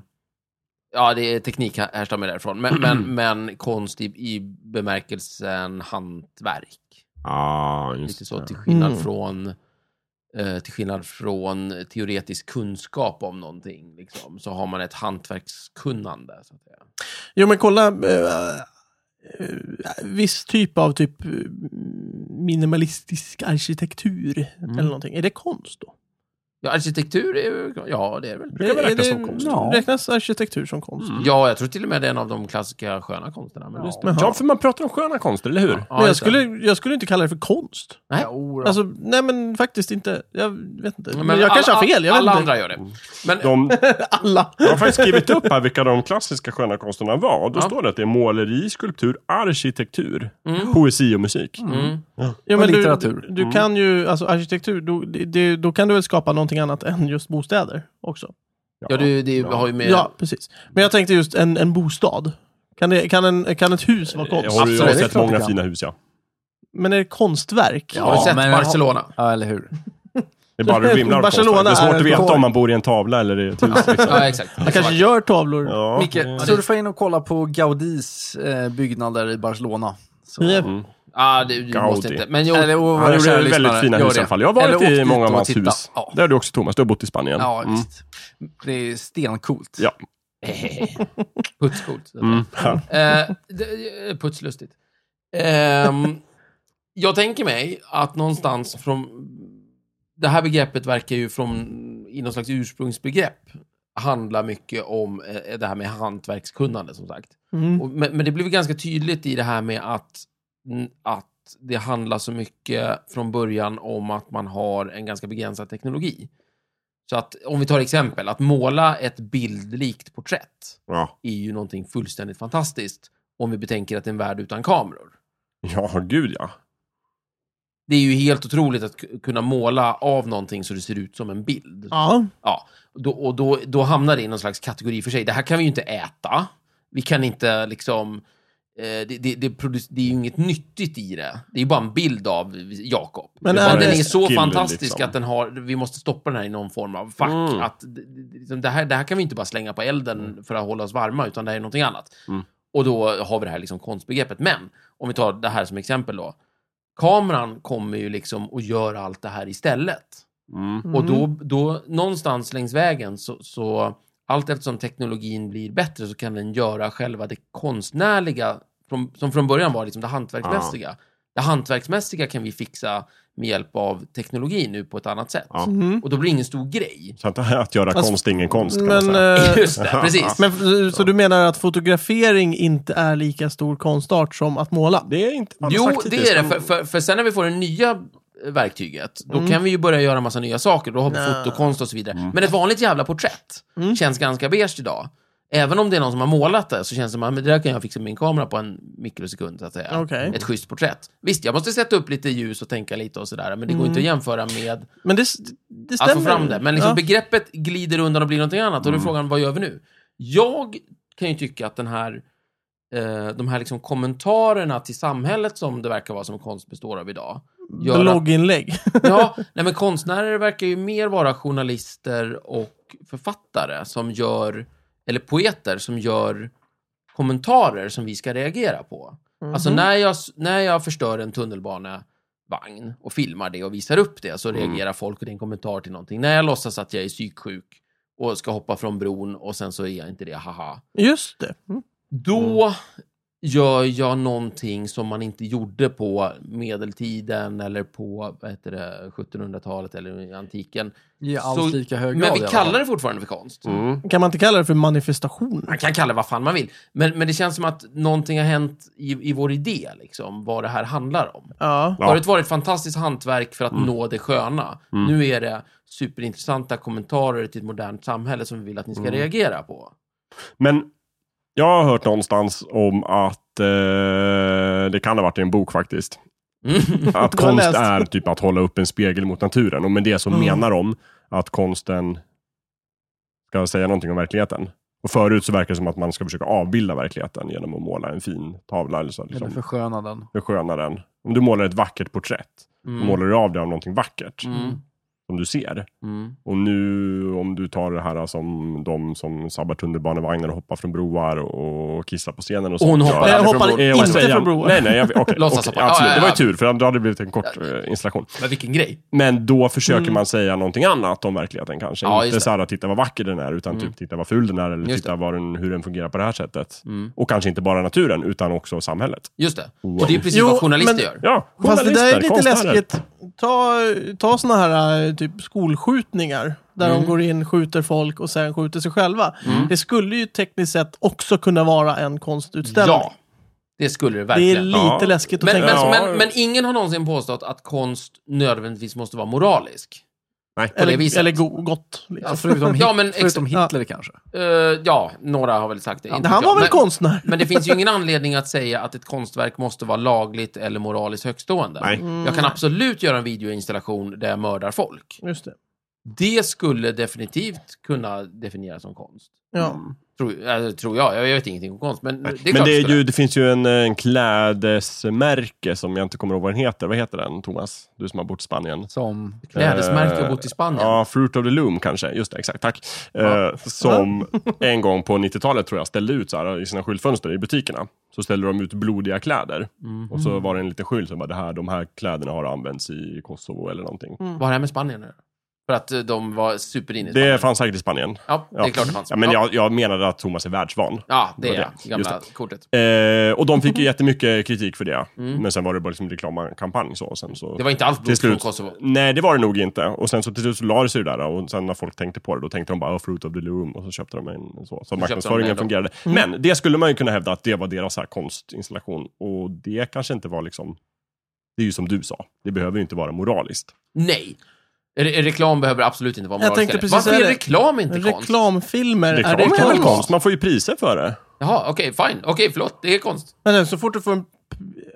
Speaker 4: Ja, det är teknik här- härstammar därifrån. Men, men, men konst i, i bemärkelsen hantverk.
Speaker 3: Ah, just
Speaker 4: Lite så,
Speaker 3: det.
Speaker 4: till skillnad
Speaker 1: Mm.
Speaker 4: från... eh, Till skillnad från teoretisk kunskap om någonting, liksom, så har man ett hantverkskunnande. Så att säga.
Speaker 1: Jo men kolla, eh, eh, viss typ av typ eh, minimalistisk arkitektur
Speaker 3: Mm.
Speaker 1: eller någonting. Är det konst då?
Speaker 4: Ja, arkitektur är ju... Ja, det är väl.
Speaker 3: Brukar väl
Speaker 1: Är
Speaker 3: räknas
Speaker 1: det- Mm.
Speaker 3: som konst?
Speaker 2: Ja.
Speaker 1: Räknas arkitektur som konst?
Speaker 4: Ja, jag tror till och med det är en av de klassiska sköna konsterna. Men just det.
Speaker 1: Jaha.
Speaker 3: Ja, för man pratar om sköna konster, eller hur?
Speaker 4: Ja,
Speaker 1: men jag
Speaker 4: just det.
Speaker 1: skulle, jag skulle inte kalla det för konst.
Speaker 4: Nej.
Speaker 1: Alltså, nej men faktiskt inte. Jag vet inte. Men
Speaker 4: Men
Speaker 1: jag kanske
Speaker 4: alla-
Speaker 1: har fel. Jag
Speaker 4: alla
Speaker 1: vet inte. Mm.
Speaker 4: andra gör det. Men
Speaker 3: De,
Speaker 1: Alla.
Speaker 3: jag har faktiskt skrivit upp här vilka de klassiska sköna konsterna var. Och Då
Speaker 4: Ja.
Speaker 3: står det att det är måleri, skulptur, arkitektur, poesi och musik.
Speaker 4: mm,
Speaker 1: Jo, men du,
Speaker 2: litteratur.
Speaker 1: du, du kan ju, alltså arkitektur, då, det- det, då kan du väl skapa någonting annat än just bostäder också.
Speaker 4: ja, du, det har ju med...
Speaker 1: Ja, precis. Men jag tänkte just en, en bostad. Kan, det, kan, en, kan ett hus vara
Speaker 3: Jag
Speaker 1: konst?
Speaker 3: har, jag har
Speaker 2: Absolut, det är
Speaker 3: sett
Speaker 2: klart det
Speaker 3: många
Speaker 2: kan.
Speaker 3: fina hus, ja.
Speaker 1: Men är det konstverk?
Speaker 4: Har du sett
Speaker 2: men-
Speaker 4: Barcelona?
Speaker 2: Ja, eller hur?
Speaker 3: Det är bara vimlar av konstverk.
Speaker 1: Barcelona
Speaker 3: Det är svårt
Speaker 1: är
Speaker 3: att veta
Speaker 1: kvar.
Speaker 3: om man bor i en tavla eller i ett hus. Liksom.
Speaker 4: Ja, exakt.
Speaker 1: Han kanske gör tavlor.
Speaker 3: Ja.
Speaker 2: Micke, surfa in och kolla på Gaudis eh, byggnader i Barcelona. Så.
Speaker 1: Det är-
Speaker 3: Mm.
Speaker 4: Ah, det, du måste
Speaker 3: Gaudi.
Speaker 4: inte. Men jo,
Speaker 2: Eller, och,
Speaker 3: Han
Speaker 2: kära
Speaker 3: gjorde väldigt
Speaker 2: lyssnare,
Speaker 3: fina
Speaker 2: gör
Speaker 3: hus i
Speaker 2: det.
Speaker 3: alla fall. Jag har varit
Speaker 2: Eller åk
Speaker 3: i
Speaker 2: dit
Speaker 3: många av
Speaker 2: och
Speaker 3: hans
Speaker 2: titta.
Speaker 3: hus.
Speaker 2: Ja,
Speaker 4: mm.
Speaker 3: Mm. Det har du också Thomas, du har bott i Spanien.
Speaker 2: ja
Speaker 3: Mm.
Speaker 2: visst. Det är stencoolt.
Speaker 3: Ja.
Speaker 4: Putscoolt.
Speaker 3: Mm. Ja.
Speaker 4: Eh, det- eh, putslustigt. Ehm, jag tänker mig att någonstans från... Det här begreppet verkar ju från, i någon slags ursprungsbegrepp, handla mycket om eh, det här med hantverkskunnande, som sagt.
Speaker 1: Mm.
Speaker 4: Och, men, men det blev ganska tydligt i det här med att, mm, att det handlar så mycket från början om att man har en ganska begränsad teknologi. Så att, om vi tar exempel, att måla ett bildlikt porträtt
Speaker 3: Ja.
Speaker 4: är ju någonting fullständigt fantastiskt om vi betänker att det är en värld utan kameror.
Speaker 3: ja, gud ja.
Speaker 4: Det är ju helt otroligt att ku- kunna måla av någonting så det ser ut som en bild.
Speaker 1: Ja.
Speaker 4: Ja, då, och då, då hamnar det i någon slags kategori för sig. Det här kan vi ju inte äta. Vi kan inte liksom... Eh, det, det, det, produc- det är ju inget nyttigt i det. Det är ju bara en bild av Jakob.
Speaker 1: Men
Speaker 4: Men,
Speaker 1: är
Speaker 4: den
Speaker 1: det-
Speaker 4: är så
Speaker 3: killen,
Speaker 4: fantastisk
Speaker 3: liksom.
Speaker 4: att den har, vi måste stoppa den här i någon form av fack.
Speaker 3: Mm.
Speaker 4: Att, det- det- liksom, det, här, det här kan vi inte bara slänga på elden för att hålla oss varma, utan det här är någonting annat.
Speaker 3: Mm.
Speaker 4: Och då har vi det här liksom konstbegreppet. Men om vi tar det här som exempel då. Kameran kommer ju liksom och gör allt det här istället.
Speaker 3: Mm.
Speaker 4: Och då, då någonstans längs vägen så, så allt eftersom teknologin blir bättre så kan den göra själva det konstnärliga, från, som från början var liksom det hantverksmässiga. Det hantverksmässiga kan vi fixa med hjälp av teknologi nu på ett annat sätt.
Speaker 3: Ja.
Speaker 1: Mm.
Speaker 4: Och då blir det ingen stor grej.
Speaker 3: Så att, att göra
Speaker 1: Alltså,
Speaker 3: konst är ingen konst kan man
Speaker 1: Men,
Speaker 3: säga.
Speaker 1: eh,
Speaker 4: Just det, precis.
Speaker 1: men så, så du menar att fotografering inte är lika stor konstart som att måla?
Speaker 3: Det är inte man har
Speaker 4: Jo,
Speaker 3: sagt
Speaker 4: det
Speaker 3: hittills,
Speaker 4: är det.
Speaker 3: men-
Speaker 4: För, för, för sen när vi får det nya verktyget, då
Speaker 3: Mm.
Speaker 4: kan vi ju börja göra massa nya saker. Då har vi fotokonst och så vidare. Men ett vanligt jävla porträtt
Speaker 3: Mm.
Speaker 4: känns ganska beige idag. Även om det är någon som har målat det, så känns det som att "Men det där kan jag fixa med min kamera på en mikrosekund, så att säga.
Speaker 1: Okej.
Speaker 4: Ett schysst porträtt. Visst, jag måste sätta upp lite ljus och tänka lite och sådär, men det går
Speaker 3: Mm.
Speaker 4: inte att jämföra med
Speaker 1: Men det, det
Speaker 4: att
Speaker 1: stämmer.
Speaker 4: få fram det. Men liksom
Speaker 1: ja.
Speaker 4: begreppet glider undan och blir någonting annat. Och då är frågan, vad gör vi nu? Jag kan ju tycka att den här, eh, de här liksom kommentarerna till samhället som det verkar vara som konst består av idag. gör att-
Speaker 1: Blogginlägg.
Speaker 4: Ja, nej men konstnärer verkar ju mer vara journalister och författare som gör, eller poeter som gör kommentarer som vi ska reagera på. Alltså
Speaker 2: Mhm.
Speaker 4: när jag, när jag förstör en tunnelbanevagn och filmar det och visar upp det så
Speaker 2: Mm.
Speaker 4: reagerar folk och det är en kommentar till någonting. När jag låtsas att jag är psyksjuk och ska hoppa från bron och sen så är jag inte det, haha.
Speaker 1: Just det. Mm.
Speaker 4: Då gör jag någonting som man inte gjorde på medeltiden eller på vad heter det, 1700-talet eller i antiken.
Speaker 2: I alls
Speaker 4: Så-
Speaker 2: lika hög grad
Speaker 4: Men vi
Speaker 2: i alla fall.
Speaker 4: kallar det fortfarande för konst.
Speaker 3: Mm.
Speaker 1: Kan man inte kalla det för manifestation?
Speaker 4: Man kan kalla det vad fan man vill. Men, men det känns som att någonting har hänt i, i vår idé, liksom, vad det här handlar om.
Speaker 1: Ja.
Speaker 3: Ja.
Speaker 4: Förut var det ett fantastiskt hantverk för att nå det sköna. Nu är det superintressanta kommentarer till ett modernt samhälle som vi vill att ni ska reagera på.
Speaker 3: Men jag har hört någonstans om att eh, det kan ha varit i en bok faktiskt.
Speaker 4: Mm.
Speaker 3: Att
Speaker 1: Du har
Speaker 3: konst
Speaker 1: läst.
Speaker 3: är typ att hålla upp en spegel mot naturen. Och med det så
Speaker 4: Mm.
Speaker 3: menar de att konsten ska säga någonting om verkligheten. Och förut så verkar det som att man ska försöka avbilda verkligheten genom att måla en fin tavla. Eller så,
Speaker 2: Eller
Speaker 3: liksom,
Speaker 2: försköna den.
Speaker 3: försköna den. Om du målar ett vackert porträtt, då
Speaker 4: Mm.
Speaker 3: målar du av det av någonting vackert
Speaker 4: Mm.
Speaker 3: som du ser.
Speaker 4: Mm.
Speaker 3: Och nu om du tar det här som de som sabbar tunnelbanevagnar och hoppar från broar och kissar på scenen och sånt.
Speaker 4: Hon
Speaker 3: gör.
Speaker 4: hoppar
Speaker 1: Jag
Speaker 4: aldrig från
Speaker 1: hoppar
Speaker 4: bron.
Speaker 1: i-
Speaker 3: Eh, och
Speaker 1: inte
Speaker 3: säger-
Speaker 1: från broar.
Speaker 3: Nej, nej, jag, okej,
Speaker 4: Låtsas
Speaker 3: okej,
Speaker 4: hoppa.
Speaker 3: absolut.
Speaker 4: Ja, ja,
Speaker 3: Det var ju
Speaker 4: ja.
Speaker 3: tur, för då hade det blivit en kort eh, installation.
Speaker 4: Men vilken grej.
Speaker 3: Men då försöker man säga någonting annat om verkligheten kanske.
Speaker 4: Ja, just
Speaker 3: Inte
Speaker 4: det.
Speaker 3: så här, titta vad vacker den är, utan typ titta vad ful den är, eller
Speaker 4: Just
Speaker 3: titta vad den, hur den fungerar på det här sättet. Och kanske inte bara naturen, utan också samhället.
Speaker 4: Just det.
Speaker 3: Wow.
Speaker 4: Och det är precis
Speaker 1: Jo,
Speaker 4: vad journalister
Speaker 1: men-
Speaker 4: gör.
Speaker 3: Ja,
Speaker 1: Fast det där är lite
Speaker 3: konstnärer.
Speaker 1: läskigt. Ta, ta såna här eh, typ skolskjutningar där
Speaker 4: Mm.
Speaker 1: de går in, skjuter folk och sen skjuter sig själva. Det skulle ju tekniskt sett också kunna vara en konstutställning.
Speaker 4: Ja, det skulle det
Speaker 1: det är
Speaker 4: verkligen.
Speaker 1: lite
Speaker 3: Ja.
Speaker 1: läskigt att
Speaker 4: men,
Speaker 1: tänka
Speaker 4: men,
Speaker 1: så.
Speaker 3: Ja.
Speaker 4: men, men ingen har någonsin påstått att konst nödvändigtvis måste vara moralisk.
Speaker 3: Nej.
Speaker 4: det
Speaker 1: Eller,
Speaker 4: viset.
Speaker 1: eller go- gott. Liksom.
Speaker 2: Ja, förutom, Hit-
Speaker 4: Ja, men exa-
Speaker 2: förutom Hitler kanske.
Speaker 4: Eh, ja, några har väl sagt det. inte vet
Speaker 1: Han
Speaker 4: jag.
Speaker 1: var väl
Speaker 4: men,
Speaker 1: konstnär?
Speaker 4: men det finns ju ingen anledning att säga att ett konstverk måste vara lagligt eller moraliskt högstående.
Speaker 3: Nej.
Speaker 4: Jag kan absolut göra en videoinstallation där jag mördar folk.
Speaker 1: Just det.
Speaker 4: Det skulle definitivt kunna definieras som konst.
Speaker 1: Ja.
Speaker 4: Tror, äh, tror jag. Jag vet ingenting om konst, men det är
Speaker 3: Men
Speaker 4: klart
Speaker 3: det,
Speaker 4: det
Speaker 3: är
Speaker 4: skulle.
Speaker 3: ju, det finns ju en, eh, en klädesmärke som jag inte kommer ihåg vad den heter. Vad heter den, Thomas? Du som har bott i Spanien.
Speaker 2: Som...
Speaker 4: Klädesmärke och
Speaker 3: Eh,
Speaker 4: bott i Spanien.
Speaker 3: Ja, Fruit of the Loom kanske. Just det, exakt. Tack. Eh, som en gång på 90-talet tror jag ställde ut så här, i sina skyltfönster i butikerna. Så ställde de ut blodiga kläder.
Speaker 4: Mm.
Speaker 3: Och så
Speaker 4: Mm.
Speaker 3: var det en liten skylt som bara, det här, de här kläderna har använts i Kosovo eller någonting.
Speaker 4: Vad har det här med Spanien nu? För att eh, de var superinne i Spanien.
Speaker 3: Det fanns säkert i Spanien.
Speaker 4: Ja, det är
Speaker 3: Ja.
Speaker 4: klart det fanns.
Speaker 3: Ja, men jag, jag menade att Thomas är världsvan.
Speaker 4: ja det är
Speaker 3: det var
Speaker 4: jag.
Speaker 3: det.
Speaker 4: Gamla
Speaker 3: Just
Speaker 4: kortet.
Speaker 3: Eh, och de fick ju jättemycket kritik för det. Men sen var det bara liksom reklamkampanj så. Och sen så...
Speaker 4: Det var inte alls blod från
Speaker 3: slut.
Speaker 4: Kosovo.
Speaker 3: Nej, det var det nog inte. Och sen så till slut så la det sig det där. Och sen när folk tänkte på det, då tänkte de bara oh, Fruit of the Loom. Och så köpte de en så. Så
Speaker 4: en
Speaker 3: marknadsföringen
Speaker 4: då.
Speaker 3: fungerade. Men det skulle man ju kunna hävda att det var deras så här konstinstallation. Och det kanske inte var liksom... Det är ju som du sa, det behöver ju inte vara moraliskt.
Speaker 4: Nej. Re reklam behöver absolut inte vara
Speaker 1: Jag tänkte
Speaker 4: moralisk. heller.
Speaker 1: precis
Speaker 4: Varför är
Speaker 1: säga det.
Speaker 4: reklam inte konst?
Speaker 1: Reklamfilmer,
Speaker 3: Reklam
Speaker 1: är det
Speaker 3: kan väl
Speaker 1: konst?
Speaker 3: konst? Liksom. Man får ju priser för det.
Speaker 4: Jaha, okej, fine. Okej, förlåt. Det är konst.
Speaker 1: Men så fort du får en...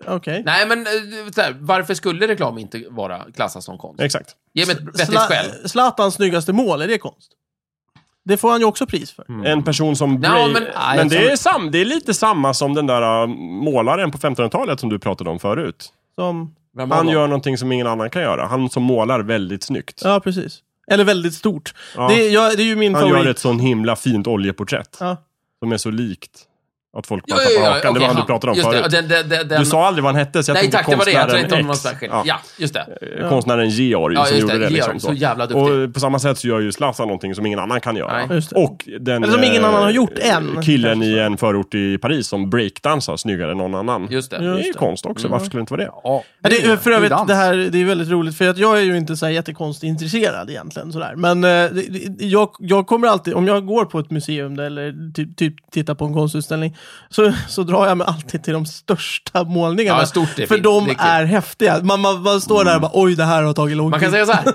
Speaker 1: Okej.
Speaker 4: Nej, men eh, så här, varför skulle reklam inte vara klassas som konst?
Speaker 3: Exakt.
Speaker 4: Ge mig ett vettigt
Speaker 1: Zla-
Speaker 4: skäl.
Speaker 1: Zlatans snyggaste mål, är det konst? Det får han ju också pris för.
Speaker 4: Mm.
Speaker 3: En person som...
Speaker 4: Ja,
Speaker 3: Bray-
Speaker 4: men-
Speaker 3: men det, är sam, det är lite samma som den där äh, målaren på 1500-talet som du pratade om förut.
Speaker 1: Som...
Speaker 4: Vem var
Speaker 3: Han
Speaker 4: de?
Speaker 3: gör någonting som ingen annan kan göra. Han som målar väldigt snyggt.
Speaker 1: Ja, precis. Eller väldigt stort.
Speaker 3: Ja.
Speaker 1: Det, är, jag, det är ju min
Speaker 3: Han
Speaker 1: favorit.
Speaker 3: gör ett sån himla fint oljeporträtt.
Speaker 1: Ja.
Speaker 3: Som är så likt att folk bara
Speaker 4: Ja, ja,
Speaker 3: tappar
Speaker 4: ja, ja,
Speaker 3: hakan. det
Speaker 4: okej,
Speaker 3: var han du
Speaker 4: han.
Speaker 3: pratade om
Speaker 4: Just
Speaker 3: förut.
Speaker 4: det, den, den, den, den,
Speaker 3: Du sa aldrig vad han hette, så jag
Speaker 4: Nej
Speaker 3: tänkte
Speaker 4: tack, det var det. Jag tänkte inte om
Speaker 3: konstnären X.
Speaker 4: någon särskild. Ja.
Speaker 3: Ja.
Speaker 4: just det.
Speaker 3: Eh, Konstnären Georg
Speaker 4: Ja,
Speaker 3: som
Speaker 4: just
Speaker 3: gjorde det.
Speaker 4: det.
Speaker 3: liksom,
Speaker 4: Georg, så jävla duktig.
Speaker 3: Och eh, på samma sätt så gör ju Zlatan någonting som ingen annan kan göra.
Speaker 4: Nej.
Speaker 1: Just det.
Speaker 3: Och den
Speaker 1: Eller som ingen
Speaker 3: eh,
Speaker 1: annan har gjort än.
Speaker 3: Killen i en förort i Paris som breakdansar snyggare än någon annan.
Speaker 4: Just det.
Speaker 3: Det är ju
Speaker 1: Just det.
Speaker 3: konst också, varför skulle det inte vara det?
Speaker 2: Ja,
Speaker 1: Ja, det, är- för övrigt,
Speaker 2: dans.
Speaker 1: det här det är väldigt roligt, för att jag är ju inte så här jättekonstintresserad egentligen. Sådär. Men eh, det- det- jag, jag kommer alltid, om jag går på ett museum där, eller typ, typ tittar på en konstutställning, så, så drar jag mig alltid till de största målningarna.
Speaker 4: Ja, stort är
Speaker 1: för
Speaker 4: fint.
Speaker 1: de
Speaker 4: Det är kul. Mm.
Speaker 1: är häftiga. Man, man, man står där och bara, oj, det här har tagit lång
Speaker 4: Man
Speaker 1: tid.
Speaker 4: kan säga så här.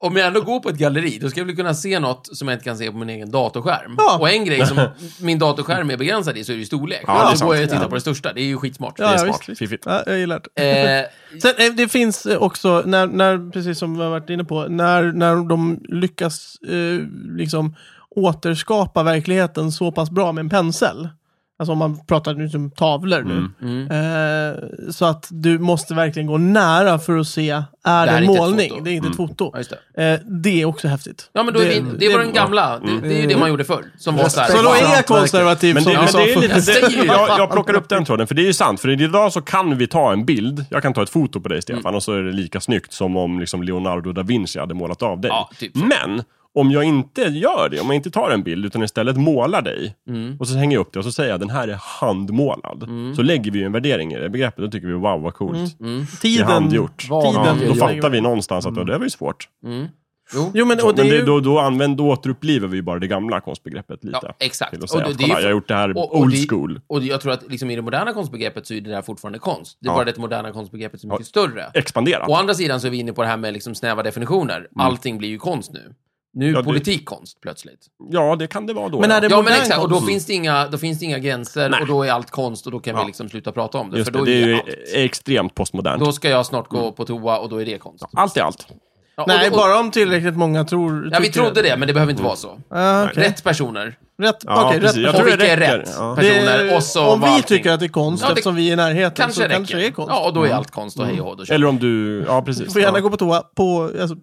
Speaker 4: Om jag ändå går på ett galleri, då ska jag väl kunna se något som jag inte kan se på min egen datorskärm.
Speaker 1: Ja.
Speaker 4: Och en grej som min datorskärm är begränsad i, så är det ju storlek.
Speaker 3: Ja, det är
Speaker 4: då går
Speaker 3: sant.
Speaker 4: jag och tittar
Speaker 3: Ja.
Speaker 4: på det största. Det är ju skitsmart.
Speaker 1: Ja,
Speaker 3: är
Speaker 1: ja,
Speaker 3: smart.
Speaker 1: visst, visst.
Speaker 3: Fiffigt.
Speaker 1: Ja, jag gillar det.
Speaker 4: Eh,
Speaker 1: Sen, eh, det finns eh, också, när, när, precis som vi har varit inne på, när, när de lyckas eh, liksom återskapa verkligheten så pass bra med en pensel. Alltså om man pratar nu som tavlor nu.
Speaker 3: Mm,
Speaker 1: Eh, så att du måste verkligen gå nära för att se, är
Speaker 4: Det
Speaker 1: det,
Speaker 4: här är
Speaker 1: en
Speaker 4: inte ett
Speaker 1: målning?
Speaker 4: foto.
Speaker 1: Det är inte ett
Speaker 3: Mm.
Speaker 1: foto.
Speaker 4: ja, just det.
Speaker 1: Eh, det är också häftigt.
Speaker 4: Ja, men då är det, vi, det var den gamla. Det, det är ju det man gjorde förr. Som var så här,
Speaker 1: Så då är jag
Speaker 2: Hantverket.
Speaker 1: konservativ
Speaker 3: Men det,
Speaker 1: som
Speaker 3: men
Speaker 1: du sa
Speaker 3: det är
Speaker 1: förut.
Speaker 4: Jag
Speaker 3: lite,
Speaker 4: säger
Speaker 3: det,
Speaker 4: ju
Speaker 3: jag,
Speaker 4: fan.
Speaker 3: jag plockar upp den tråden, för det är ju sant. För idag så kan vi ta en bild, jag kan ta ett foto på dig Stefan, och så är det lika snyggt som om liksom Leonardo da Vinci hade målat av dig.
Speaker 4: Ja, typ så.
Speaker 3: Men, om jag inte gör det, om jag inte tar en bild, utan istället målar dig, och så hänger jag upp det och så säger jag den här är handmålad. Så lägger vi ju en värdering i det begreppet, då tycker vi wow vad coolt.
Speaker 1: mm.
Speaker 3: Det är
Speaker 1: Tiden.
Speaker 3: handgjort. Ja,
Speaker 1: Tiden.
Speaker 3: då fattar vi någonstans att ja, det var ju svårt.
Speaker 4: Jo.
Speaker 1: Jo, men, och
Speaker 3: Men
Speaker 1: det är
Speaker 3: det,
Speaker 1: ju...
Speaker 3: då, då använder, då återupplever vi bara det gamla konstbegreppet lite.
Speaker 4: Ja, exakt.
Speaker 3: Till att säga
Speaker 4: Och det-
Speaker 3: att,
Speaker 4: det är ju
Speaker 3: kolla, jag har
Speaker 4: för-
Speaker 3: gjort det här
Speaker 4: och- och
Speaker 3: old
Speaker 4: det-
Speaker 3: school.
Speaker 4: Och jag tror att liksom i det moderna konstbegreppet så är det där fortfarande konst. Det är
Speaker 3: Ja.
Speaker 4: bara det att moderna konstbegreppet är så mycket större.
Speaker 3: Expanderat.
Speaker 4: Å andra sidan så är vi inne på det här med liksom snäva definitioner. Allting blir ju konst nu. Nu är
Speaker 3: Mm. Ja, det-
Speaker 4: politik konst plötsligt.
Speaker 3: Ja, det kan det vara då.
Speaker 1: Men är det
Speaker 4: Ja, men
Speaker 1: modern
Speaker 4: exakt. Och då
Speaker 1: konst?
Speaker 4: finns, det inga, då finns det inga gränser och då är allt konst och då kan vi
Speaker 3: Ja.
Speaker 4: liksom sluta prata om det.
Speaker 3: Just
Speaker 4: för då
Speaker 3: det, det är ju Mm.
Speaker 4: allt.
Speaker 3: extremt postmodernt.
Speaker 4: Då ska jag snart gå på toa och då är det konst.
Speaker 3: Allt är allt.
Speaker 4: Ja, och
Speaker 1: Nej,
Speaker 4: då, och,
Speaker 1: bara om tillräckligt många tror...
Speaker 4: Ja, vi
Speaker 1: tycker
Speaker 4: trodde det, men det behöver inte vara så.
Speaker 1: Ja, okej.
Speaker 4: Rätt personer.
Speaker 1: Rätt,
Speaker 3: Ja,
Speaker 1: okej, rätt
Speaker 3: precis. Mm. Jag
Speaker 4: och
Speaker 3: tror det
Speaker 4: vilka är
Speaker 3: räcker.
Speaker 4: rätt
Speaker 3: Ja.
Speaker 4: personer? Och så
Speaker 1: om vi
Speaker 4: var allting-
Speaker 1: tycker att det är konst,
Speaker 4: Ja, det-
Speaker 1: eftersom vi är i närheten,
Speaker 4: Kanske
Speaker 1: så
Speaker 4: räcker.
Speaker 1: kanske det är konst. Mm.
Speaker 4: Ja, och då är allt konst och hej och hå. då kör vi.
Speaker 3: Eller om du... Ja,
Speaker 1: Du
Speaker 3: precis.
Speaker 1: får gärna
Speaker 3: Ja.
Speaker 1: gå på toa på... Alltså,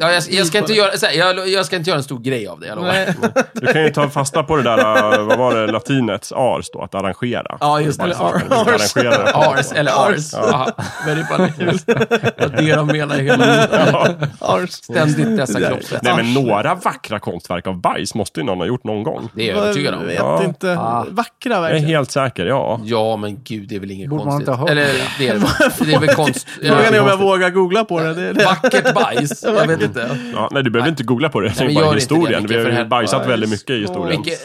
Speaker 4: Ja, jag, jag, ska inte göra, så här, jag, jag ska inte göra en stor grej av det, jag lovar.
Speaker 1: Nej,
Speaker 3: Du kan ju ta fasta på det där, äh, vad var det, latinets ars då, att arrangera.
Speaker 2: Ja, just det.
Speaker 1: eller ar- ars.
Speaker 3: Arrangera.
Speaker 4: Ars, eller ars. Aha, Very funny. Vad det de menar hela tiden.
Speaker 1: Ars.
Speaker 4: Ständigt dessa kroppsrätt.
Speaker 3: Nej, men några vackra konstverk av bajs måste ju någon ha gjort någon gång.
Speaker 4: Det är jag övertygad
Speaker 1: Jag
Speaker 4: om.
Speaker 1: vet
Speaker 3: Ja.
Speaker 1: inte. Vackra
Speaker 3: Jag är
Speaker 1: verkligen.
Speaker 3: helt säker, ja.
Speaker 4: Ja, men gud, det är väl inget
Speaker 2: Borde man
Speaker 4: konstigt.
Speaker 2: inte ha hört
Speaker 4: Eller det är, det är väl konst...
Speaker 1: Frågan är om jag
Speaker 2: konstigt.
Speaker 1: vågar googla på det. det, det.
Speaker 4: Vackert bajs. Jag vet inte.
Speaker 3: ja. Nej, du behöver inte googla på det. Jag tänker
Speaker 4: men
Speaker 3: bara
Speaker 4: gör inte det,
Speaker 3: historien.
Speaker 4: Micke,
Speaker 3: Vi har
Speaker 4: för
Speaker 3: ju
Speaker 4: här-
Speaker 3: bajsat
Speaker 4: Ja,
Speaker 3: väldigt mycket i historien.
Speaker 4: Micke, eh,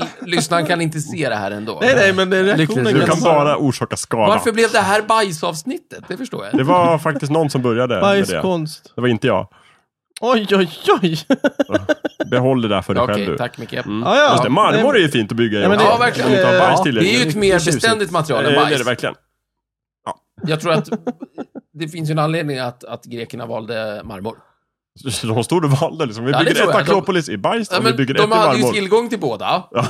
Speaker 4: l- lyssnaren kan inte se det här ändå.
Speaker 1: Nej, nej, men det är reaktionen.
Speaker 2: Lyckligtvis.
Speaker 3: Du
Speaker 1: kan
Speaker 3: kan
Speaker 1: vara-
Speaker 3: bara orsaka skada.
Speaker 4: Varför blev det här bajsavsnittet? Det förstår jag
Speaker 3: Det var faktiskt någon som började med det.
Speaker 1: Bajskonst.
Speaker 3: Det var inte jag.
Speaker 1: Oj, oj, oj.
Speaker 3: Behåll det där för dig
Speaker 4: Okej,
Speaker 3: själv du. Mm.
Speaker 4: tack Micke.
Speaker 1: Ja, ja.
Speaker 3: Just det, marmor är ju fint att bygga i
Speaker 1: Ja, men
Speaker 3: också.
Speaker 1: det-
Speaker 4: Ja, verkligen.
Speaker 3: Om du inte har bajs
Speaker 2: Ja,
Speaker 4: Det är ju ett
Speaker 3: tillräckligt.
Speaker 4: mer
Speaker 2: Tjusigt.
Speaker 4: beständigt material
Speaker 3: Eh,
Speaker 4: än
Speaker 3: Det är det
Speaker 4: bajs.
Speaker 3: verkligen.
Speaker 4: Jag tror att det finns ju en anledning att, att grekerna valde marmor.
Speaker 3: Så De stod och valde liksom. Vi
Speaker 4: Ja, det
Speaker 3: bygger
Speaker 4: tror
Speaker 3: ett
Speaker 4: jag. De-
Speaker 3: Akropolis i bajs
Speaker 4: Ja,
Speaker 3: och vi
Speaker 4: men
Speaker 3: bygger ett i
Speaker 4: de hade ju
Speaker 3: marmor.
Speaker 4: tillgång till båda,
Speaker 3: Ja,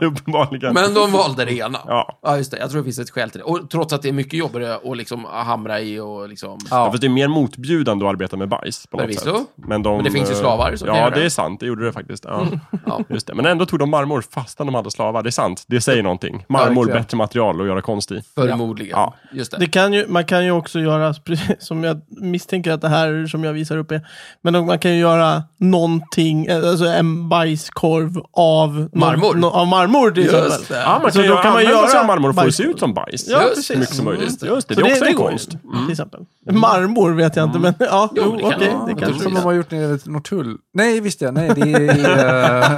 Speaker 3: uppenbarligen.
Speaker 4: men de valde det ena. Ja.
Speaker 3: Ja.
Speaker 4: just det. Jag tror det finns ett skäl till det. Och trots att det är mycket jobbigare att liksom hamra i och liksom...
Speaker 3: Ja, fast det är mer motbjudande att arbeta med bajs på något
Speaker 4: Förvisso.
Speaker 3: sätt. Men, de,
Speaker 4: Men det finns ju
Speaker 3: eh,
Speaker 4: slavar som kan
Speaker 3: Ja,
Speaker 4: göra det. Mm.
Speaker 3: det är sant. Det gjorde det faktiskt. Ja.
Speaker 4: Ja.
Speaker 3: Just det. Men ändå tog de marmor fastän de hade slavar. Det är sant. Det säger någonting. Marmor,
Speaker 2: verkligen.
Speaker 3: bättre material att göra konst i.
Speaker 4: Förmodligen.
Speaker 3: Ja.
Speaker 4: Just det.
Speaker 1: Det kan ju, man kan ju också göra, som jag misstänker att det här som jag visar upp är, Men man kan ju göra någonting, eh, alltså en bajskorv av någon-
Speaker 4: Marmor.
Speaker 1: nå- av marmor till
Speaker 4: Just
Speaker 1: exempel.
Speaker 4: det.
Speaker 3: Ja, man
Speaker 1: Så då
Speaker 3: kan, ju
Speaker 1: kan man
Speaker 3: använda
Speaker 1: göra
Speaker 3: sig av marmor och få det
Speaker 1: bajs.
Speaker 3: se ut som bajs.
Speaker 1: Ja,
Speaker 3: Så
Speaker 1: precis. Mm.
Speaker 3: mycket som möjligt.
Speaker 4: Just
Speaker 3: Just
Speaker 4: det.
Speaker 3: det, det är också en
Speaker 1: går ju,
Speaker 3: konst.
Speaker 1: Till exempel. Marmor vet jag inte, men ja,
Speaker 4: Mm. Jo,
Speaker 1: jo,
Speaker 4: men det
Speaker 1: okej.
Speaker 4: kan vara-
Speaker 1: det
Speaker 2: Det kanske
Speaker 1: kanske
Speaker 2: som
Speaker 4: precis.
Speaker 2: de har gjort nere i Norrtull. Nej, visst ja. Nej, det är,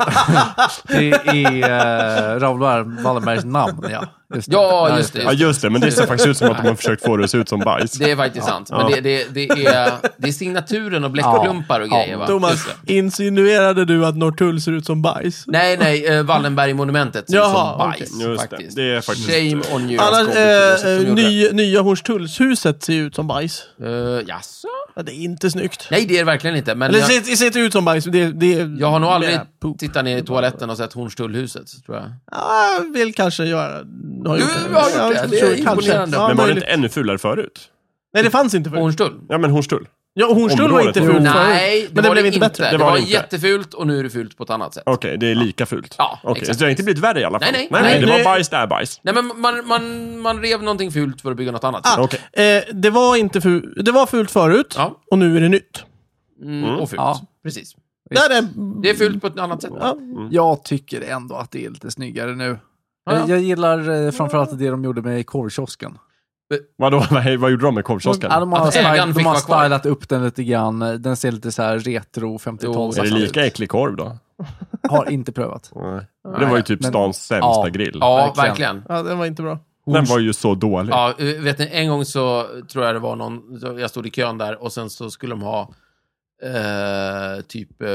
Speaker 2: eh, det är eh, Raoul Wallenbergs namn. Ja, just
Speaker 4: Ja, just det.
Speaker 3: Ja, just det. Men det ser faktiskt ut som att de har försökt få det att se ut som bajs.
Speaker 4: Det är faktiskt sant. Men det, det, det, är, det är signaturen och bläckklumpar och
Speaker 2: Ja.
Speaker 4: grejer, va?
Speaker 1: Thomas,
Speaker 4: Just det.
Speaker 1: insinuerade du att Norrtull ser ut som bajs?
Speaker 4: Nej, nej, eh, Wallenbergmonumentet ser ut som
Speaker 1: Jaha,
Speaker 4: bajs
Speaker 1: okej.
Speaker 3: Just det.
Speaker 4: faktiskt.
Speaker 3: Det är faktiskt-
Speaker 4: Shame on you.
Speaker 1: Annars,
Speaker 4: Skåpet, det var så
Speaker 1: eh,
Speaker 4: de
Speaker 1: eh,
Speaker 4: gjorde
Speaker 1: ny, nya Hornstullshuset ser ju ut som bajs.
Speaker 4: det. Eh, jaså?
Speaker 1: Ja, det är inte snyggt.
Speaker 4: Nej, det är det verkligen inte. Men
Speaker 1: Eller
Speaker 4: jag,
Speaker 1: ser, ser inte ut som bajs. Det, det,
Speaker 4: jag har nog aldrig
Speaker 1: Poop.
Speaker 4: tittat ner i toaletten och sett Hornstullhuset, tror jag.
Speaker 1: Ja, jag Ah, vill kanske göra... Har
Speaker 4: Du
Speaker 1: gjort
Speaker 4: har gjort det. Det är
Speaker 1: kanske.
Speaker 4: imponerande.
Speaker 1: Ja,
Speaker 3: men var det
Speaker 1: möjligt.
Speaker 3: inte ännu fulare förut?
Speaker 1: Nej, det fanns inte förut.
Speaker 4: Hornstull?
Speaker 3: Ja, men Hornstull.
Speaker 1: Ja, Hornstull var
Speaker 3: Området.
Speaker 1: inte
Speaker 2: Jo.
Speaker 1: fult
Speaker 4: Nej,
Speaker 1: förut. Men det
Speaker 4: var
Speaker 1: blev inte bättre.
Speaker 4: Det
Speaker 3: Det
Speaker 4: var,
Speaker 3: var det inte.
Speaker 4: jättefult och nu är det fult på ett annat sätt.
Speaker 3: Okej, det är lika fult.
Speaker 4: Ja,
Speaker 3: Okej,
Speaker 4: exakt.
Speaker 3: Så det har inte blivit värre i alla fall?
Speaker 4: Nej, nej,
Speaker 3: nej,
Speaker 4: nej.
Speaker 3: det
Speaker 1: Nu-
Speaker 3: var bajs, det är bajs.
Speaker 4: Nej, men man, man, man rev någonting fult för att bygga något annat.
Speaker 1: Ah,
Speaker 3: Okej.
Speaker 1: eh, det, var inte fult. det var fult förut
Speaker 4: Ja.
Speaker 1: och nu är det nytt.
Speaker 4: Mm, Och fult.
Speaker 2: Ja.
Speaker 4: Precis.
Speaker 1: Där är...
Speaker 4: Det är fult på ett annat sätt.
Speaker 1: Ja.
Speaker 2: Jag tycker ändå att det är lite snyggare nu.
Speaker 4: Ja, ja.
Speaker 2: Jag, jag gillar eh, framförallt det de gjorde med korvkiosken.
Speaker 3: Vadå, vad, vad gjorde de med korvkiosken?
Speaker 2: Ja, de har,
Speaker 4: Att ägaren
Speaker 2: styl,
Speaker 4: fick
Speaker 2: de har
Speaker 4: vara kvar.
Speaker 2: stylat upp den lite grann. Den ser lite så här retro 50-tal.
Speaker 3: Är det
Speaker 4: Absolut.
Speaker 3: lika äcklig korv då?
Speaker 2: Har inte prövat.
Speaker 3: Nej. Det var ju typ
Speaker 2: men-
Speaker 3: stans sämsta
Speaker 2: Ja.
Speaker 3: grill.
Speaker 4: Ja,
Speaker 2: Verkligen.
Speaker 4: verkligen.
Speaker 1: ja, den var inte bra.
Speaker 3: Den var ju så dålig.
Speaker 4: Ja, eh, vet ni, en gång så tror jag det var någon, så jag stod i kön där och sen så skulle de ha eh, typ eh,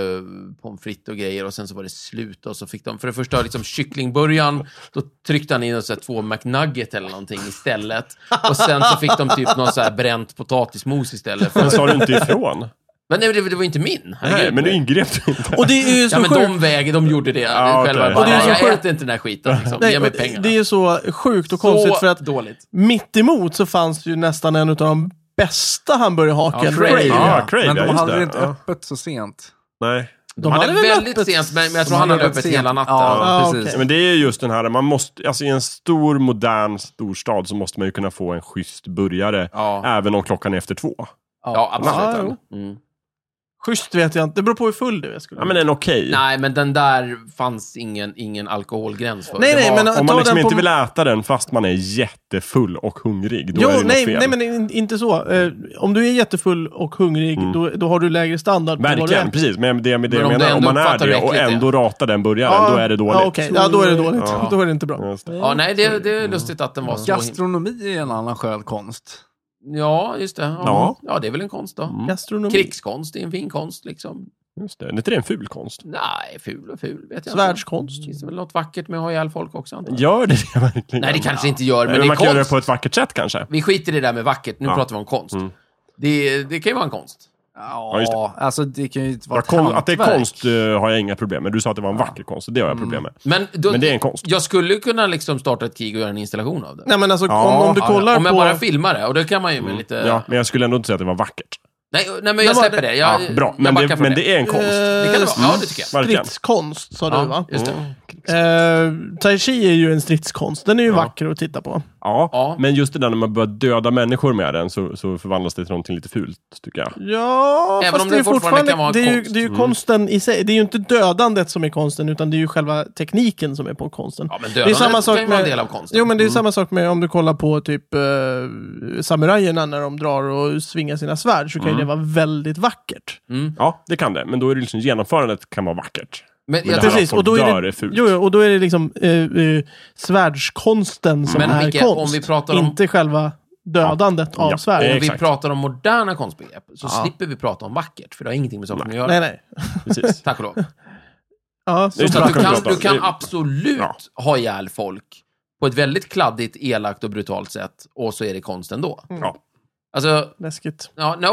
Speaker 4: pommes frites och grejer och sen så var det slut och så fick de, för det första liksom kycklingburgaren, då tryckte han in så här, två McNugget eller någonting istället. Och sen så fick de typ någon så här bränt potatismos istället. För,
Speaker 3: Men sa du inte ifrån?
Speaker 4: men nej, det, det var inte min.
Speaker 3: Nej,
Speaker 4: Herregud.
Speaker 3: men du ingrep du inte.
Speaker 1: Och det är ju så
Speaker 4: Ja, men
Speaker 1: sjukt.
Speaker 4: de väger, de gjorde det
Speaker 3: Ja,
Speaker 4: själva.
Speaker 3: okej.
Speaker 4: Bara,
Speaker 1: Och det är så
Speaker 4: jag
Speaker 1: sjukt.
Speaker 4: äter inte den här skiten, liksom.
Speaker 1: Nej,
Speaker 4: ge mig
Speaker 1: och det-
Speaker 4: pengarna.
Speaker 1: det är ju så sjukt och
Speaker 4: så
Speaker 1: konstigt för att
Speaker 4: dåligt.
Speaker 1: mitt emot så fanns det ju nästan en av de bästa hamburgerhaken.
Speaker 4: Ja, Crave.
Speaker 1: Crave.
Speaker 3: Ja, Crave,
Speaker 2: Men de
Speaker 3: ja, just
Speaker 2: hade
Speaker 3: det.
Speaker 2: inte
Speaker 3: Ja.
Speaker 2: öppet så sent.
Speaker 3: Nej.
Speaker 1: De
Speaker 4: Han
Speaker 1: hade
Speaker 4: är
Speaker 1: väl
Speaker 4: väldigt
Speaker 1: öppet...
Speaker 4: sent, men, men jag
Speaker 2: De
Speaker 4: tror han hade öppet
Speaker 2: sent.
Speaker 4: hela natten.
Speaker 2: Ja,
Speaker 1: Ja,
Speaker 2: precis.
Speaker 1: okej.
Speaker 3: Men det är just den här, man måste, alltså i en stor modern storstad så måste man ju kunna få en schysst burgare.
Speaker 4: Ja.
Speaker 3: Även om klockan är efter två.
Speaker 4: Ja, absolut.
Speaker 1: Ja,
Speaker 4: mm.
Speaker 1: Schysst vet jag inte. Det beror på hur full du är. Skulle
Speaker 3: Ja men en okej.
Speaker 4: Nej, men den där fanns ingen, ingen alkoholgräns för.
Speaker 1: Nej,
Speaker 4: det
Speaker 1: nej,
Speaker 4: var,
Speaker 1: men-
Speaker 3: Om
Speaker 1: ta
Speaker 3: man liksom
Speaker 1: den på-
Speaker 3: inte vill äta den fast man är jättefull och hungrig, då
Speaker 1: jo,
Speaker 3: är det
Speaker 1: nej,
Speaker 3: något fel.
Speaker 1: nej, men in, inte så. Eh, om du är jättefull och hungrig, då, då har du lägre standard på vad du
Speaker 3: Mm. Verkligen,
Speaker 1: äter.
Speaker 3: precis. Men det, med det
Speaker 4: Men om
Speaker 3: jag
Speaker 4: du
Speaker 3: menar, om
Speaker 4: ändå
Speaker 3: man är
Speaker 4: uppfattar
Speaker 3: det
Speaker 4: hur
Speaker 3: och
Speaker 4: äckligt
Speaker 3: ändå ratar den burgaren, då är det dåligt. Mm.
Speaker 1: Ja, Ah, okej. ja, då är det dåligt. Då är det inte bra.
Speaker 3: Just det.
Speaker 4: ja, nej det, det är lustigt att den var så himla...
Speaker 2: Gastronomi är en annan skön konst.
Speaker 4: Ja, just det. Ja.
Speaker 3: Ja.
Speaker 4: ja, det är väl en konst då.
Speaker 1: Mm. Gastronomi.
Speaker 4: Krigskonst är en fin konst, liksom.
Speaker 3: Just det. Är inte det en ful konst?
Speaker 4: Nej, ful och ful vet jag
Speaker 1: Svärdskonst.
Speaker 4: inte. Finns det väl något vackert med att ha ihjäl folk också, antar jag?
Speaker 3: Gör det det verkligen?
Speaker 4: Nej, det kanske inte gör, men,
Speaker 3: Men,
Speaker 4: det är
Speaker 3: man kan göra det
Speaker 4: konst.
Speaker 3: på ett vackert sätt kanske.
Speaker 4: Vi skiter i det där med vackert, nu
Speaker 3: Ja.
Speaker 4: pratar vi om konst. Det, det kan ju vara en konst.
Speaker 2: Ja,
Speaker 3: Ja, just
Speaker 2: alltså det kan ju inte vara
Speaker 3: Bara
Speaker 2: ett
Speaker 3: kon- att det är
Speaker 2: hantverk.
Speaker 3: konst eh, har jag inga problem med. Du sa att det var en vacker konst, och det har jag problem med.
Speaker 4: Men, då,
Speaker 3: Men det är en konst.
Speaker 4: Jag skulle kunna liksom starta ett krig och göra en installation av det.
Speaker 1: Nej, men alltså,
Speaker 3: Ja,
Speaker 1: om, om du
Speaker 4: Ja,
Speaker 1: kollar
Speaker 4: ja, om jag
Speaker 1: på...
Speaker 4: bara filmar det, och det kan man ju med lite...
Speaker 3: Mm. Ja, men jag skulle ändå inte säga att det var vackert.
Speaker 4: Nej, nej, men jag
Speaker 1: var-
Speaker 4: släpper det. Jag,
Speaker 3: Ja, bra,
Speaker 4: jag
Speaker 3: men,
Speaker 4: backar
Speaker 3: det,
Speaker 4: från
Speaker 3: men det är en konst.
Speaker 1: Eh,
Speaker 4: Det kan det vara. Ja, det tycker jag.
Speaker 3: Verkligen.
Speaker 1: Stridskonst, sa du, va?
Speaker 4: Ja, just
Speaker 3: Mm.
Speaker 4: det.
Speaker 1: Eh, tai chi är ju en stridskonst. Den är ju vacker att titta på.
Speaker 3: Ja,
Speaker 4: Ja.
Speaker 3: men just det där när man börjar döda människor med den så, så förvandlas det till någonting lite fult, tycker jag.
Speaker 1: Ja,
Speaker 4: Även
Speaker 1: fast
Speaker 4: om
Speaker 1: det
Speaker 4: det
Speaker 1: är
Speaker 4: fortfarande
Speaker 1: fortfarande...
Speaker 4: kan vara
Speaker 1: det, är ju,
Speaker 4: konst.
Speaker 1: det
Speaker 3: Mm.
Speaker 1: är ju konsten i sig. Det är ju inte dödandet som är konsten, utan det är ju själva tekniken som är på konsten.
Speaker 4: Ja, men
Speaker 1: det är samma sak
Speaker 4: kan ju
Speaker 1: med...
Speaker 4: vara en del av konsten.
Speaker 1: Jo, men
Speaker 3: Mm.
Speaker 1: det är samma sak med om du kollar på typ eh, samurajerna när de drar och svingar sina svärd, så kan ju
Speaker 3: Mm.
Speaker 1: det vara väldigt vackert.
Speaker 3: Ja, det kan det. Men då är det liksom genomförandet kan vara vackert.
Speaker 4: men
Speaker 3: men
Speaker 4: jag,
Speaker 3: det här-
Speaker 4: tror-
Speaker 1: Precis,
Speaker 3: folk
Speaker 1: och då är
Speaker 3: dör
Speaker 1: det,
Speaker 3: är fult.
Speaker 1: jo, jo, och då är det liksom eh, eh, svärdskonsten som
Speaker 4: Men
Speaker 1: är
Speaker 4: Micke,
Speaker 1: konst.
Speaker 4: om vi pratar om-
Speaker 1: Inte själva dödandet av
Speaker 3: Ja,
Speaker 1: svärd.
Speaker 3: eh,
Speaker 4: om vi
Speaker 3: exakt.
Speaker 4: pratar om moderna konstbegrepp så slipper vi prata om vackert, för det har ingenting med saken att göra.
Speaker 1: Nej, nej.
Speaker 3: Precis.
Speaker 4: Tack och lov.
Speaker 1: Ja, så,
Speaker 3: Just
Speaker 4: Så att du
Speaker 3: Tack och
Speaker 4: kan,
Speaker 3: lov.
Speaker 4: du kan
Speaker 3: Det-
Speaker 4: absolut
Speaker 3: Ja.
Speaker 4: ha ihjäl folk på ett väldigt kladdigt, elakt och brutalt sätt, och så är det konst ändå.
Speaker 3: Ja.
Speaker 4: Alltså,
Speaker 1: läskigt.
Speaker 4: ja, no,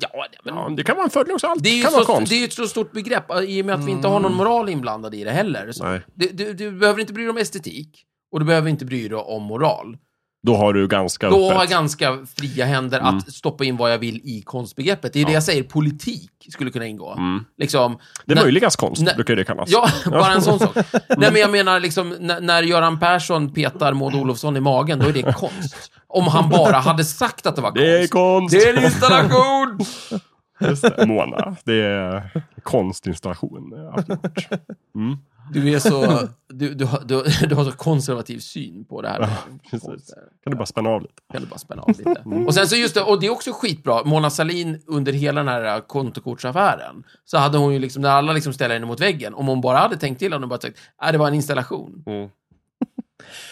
Speaker 4: ja, men
Speaker 3: ja, det kan vara en fördel också. Allt
Speaker 4: Det är ju
Speaker 3: kan
Speaker 4: så,
Speaker 3: vara konst. Mm.
Speaker 4: det är ju ett så stort begrepp eh, i och med att vi inte har någon moral inblandad i det heller. Så
Speaker 3: Nej.
Speaker 4: du, du, du behöver inte bry dig om estetik och du behöver inte bry dig om moral.
Speaker 3: Då har du ganska
Speaker 4: Då har jag
Speaker 3: öppet.
Speaker 4: ganska fria händer att stoppa in vad jag vill i konstbegreppet. Det är ju det jag säger, politik skulle kunna ingå. Liksom,
Speaker 3: Det
Speaker 4: när-
Speaker 3: möjligas konst,
Speaker 4: Nej.
Speaker 3: brukar ju det kallas.
Speaker 4: Ja, bara en sån sak. Nej, men jag menar liksom, när, när Göran Persson petar Maud Olofsson i magen, då är det konst. Om han bara hade sagt att det var konst.
Speaker 3: Det är konst!
Speaker 4: Det är en installation!
Speaker 3: Just det, Mona. Det är konstinstallation. jag har gjort. Mm.
Speaker 4: Du är så... Du, du, har- du, du har så konservativ syn på det här.
Speaker 3: Ja, precis. Kan du bara spänna av lite?
Speaker 4: Eller bara spänna av lite. Och sen så just det, och det är också skitbra. Mona Sahlin under hela den här äh, kontokortsaffären, så hade hon ju liksom, när alla liksom ställer henne mot väggen, om hon bara hade tänkt till hade hon bara sagt, nej det var en installation.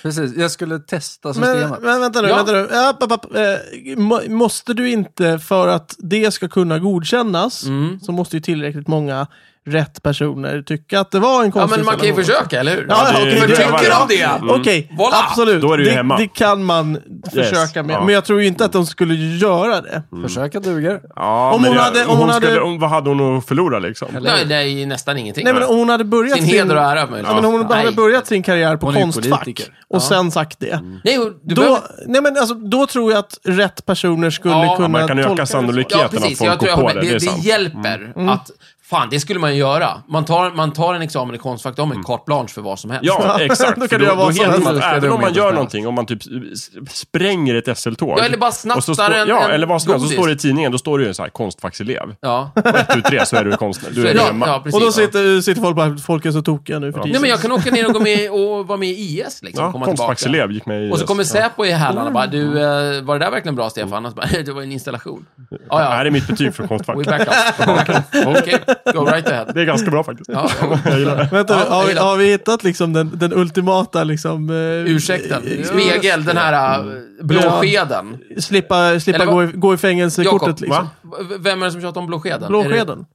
Speaker 2: Precis, jag skulle testa
Speaker 1: Men,
Speaker 2: systemet.
Speaker 1: men vänta nu,
Speaker 4: Ja.
Speaker 1: vänta nu. Ja, papp, papp. Eh, må- måste du inte, för att det ska kunna godkännas,
Speaker 4: Mm.
Speaker 1: så måste ju tillräckligt många rätt personer tycka att det var en
Speaker 4: Ja,
Speaker 1: konstig
Speaker 4: men man kan ju
Speaker 1: installation.
Speaker 4: försöka, eller hur?
Speaker 1: Ja,
Speaker 3: det-
Speaker 1: okej,
Speaker 3: det
Speaker 4: Vad
Speaker 3: gör
Speaker 4: tycker
Speaker 3: man.
Speaker 4: du om det?
Speaker 3: Mm.
Speaker 1: Okej,
Speaker 4: Voilà!
Speaker 1: absolut.
Speaker 3: Då är det ju hemma.
Speaker 1: det kan man försöka med.
Speaker 3: ja. Mm.
Speaker 1: Men jag tror ju inte att de skulle göra det.
Speaker 2: Försöka duger.
Speaker 3: Ja,
Speaker 1: Om
Speaker 3: men
Speaker 1: hon
Speaker 3: det-
Speaker 1: hade- om hon hade-
Speaker 3: skulle, om, vad hade hon att förlora liksom?
Speaker 4: Nej, nej, nästan ingenting.
Speaker 1: Nej, men om hon hade börjat
Speaker 4: Sin heder och ära möjligen.
Speaker 1: Ja, men om hon
Speaker 4: Nej.
Speaker 1: hade börjat sin karriär på
Speaker 2: Hon är ju
Speaker 1: Konstfack och
Speaker 2: politiker.
Speaker 1: sen sagt det.
Speaker 3: Mm.
Speaker 4: Nej, du
Speaker 1: Då,
Speaker 4: behöver...
Speaker 1: nej, men alltså, då tror jag att rätt personer skulle
Speaker 4: Ja,
Speaker 1: kunna
Speaker 3: man kan öka
Speaker 1: tolka det så.
Speaker 3: sannolikheten.
Speaker 4: Ja,
Speaker 3: att
Speaker 4: precis.
Speaker 3: folk
Speaker 4: Jag tror jag
Speaker 3: går
Speaker 4: håller
Speaker 3: på
Speaker 4: med.
Speaker 3: det, det
Speaker 4: Det,
Speaker 3: är
Speaker 4: det
Speaker 3: sant. Mm.
Speaker 4: hjälper att... Fan, det skulle man ju göra. Man tar, man tar en examen i Konstfack, då har man ju carte blanche för vad som helst.
Speaker 3: Mm. Ja, exakt.
Speaker 1: Då kan du
Speaker 3: För då,
Speaker 1: göra
Speaker 3: då
Speaker 1: vad som
Speaker 3: heter
Speaker 1: helst.
Speaker 3: man att
Speaker 2: Ska
Speaker 3: även
Speaker 2: de
Speaker 3: om man
Speaker 2: inte
Speaker 3: gör
Speaker 2: snälla?
Speaker 3: någonting, om man typ s- spränger ett SL-tåg.
Speaker 4: Ja, eller bara snattar
Speaker 3: och så står-
Speaker 4: en-
Speaker 3: Ja,
Speaker 4: en
Speaker 3: eller vad som helst. Så
Speaker 4: godis.
Speaker 3: står det i tidningen, då står det ju en så här konstfackselev.
Speaker 4: Ja.
Speaker 3: Och ett, tu, tre så är du konstnär. Du är
Speaker 4: Ja,
Speaker 3: hemma.
Speaker 4: ja, precis.
Speaker 1: Och då
Speaker 4: Ja.
Speaker 1: sitter, sitter folk bara, folk är så tokiga nu för tiden.
Speaker 4: Nej, men jag kan åka ner och gå med och vara med i IS liksom.
Speaker 3: Ja,
Speaker 4: komma tillbaka.
Speaker 3: konstfackselev gick med i...
Speaker 4: Och så kommer Säpo i hälarna och bara, du,
Speaker 3: Mm.
Speaker 4: eh, var det där verkligen bra Stefan? Och så bara, det var en installation.
Speaker 3: Det
Speaker 4: Ja,
Speaker 3: här
Speaker 4: ja,
Speaker 3: är mitt betyg för konstfack.
Speaker 4: we back up. Okej, go right ahead.
Speaker 3: Det är ganska bra faktiskt.
Speaker 4: Ja,
Speaker 3: Jag gillar det.
Speaker 1: Vänta,
Speaker 4: Ja,
Speaker 1: har,
Speaker 4: jag
Speaker 1: vi,
Speaker 4: gillar-
Speaker 1: har vi hittat liksom den, den ultimata liksom... eh,
Speaker 4: ursäkten.
Speaker 1: eh,
Speaker 4: Spegel, den här eh, blåskeden.
Speaker 1: Slippa, slippa
Speaker 4: Eller vad-
Speaker 1: gå, i, gå i fängelse-kortet
Speaker 4: Jakob,
Speaker 1: liksom.
Speaker 4: v- vem är det som tjatar om blåskeden? Är det-
Speaker 1: Blåskeden.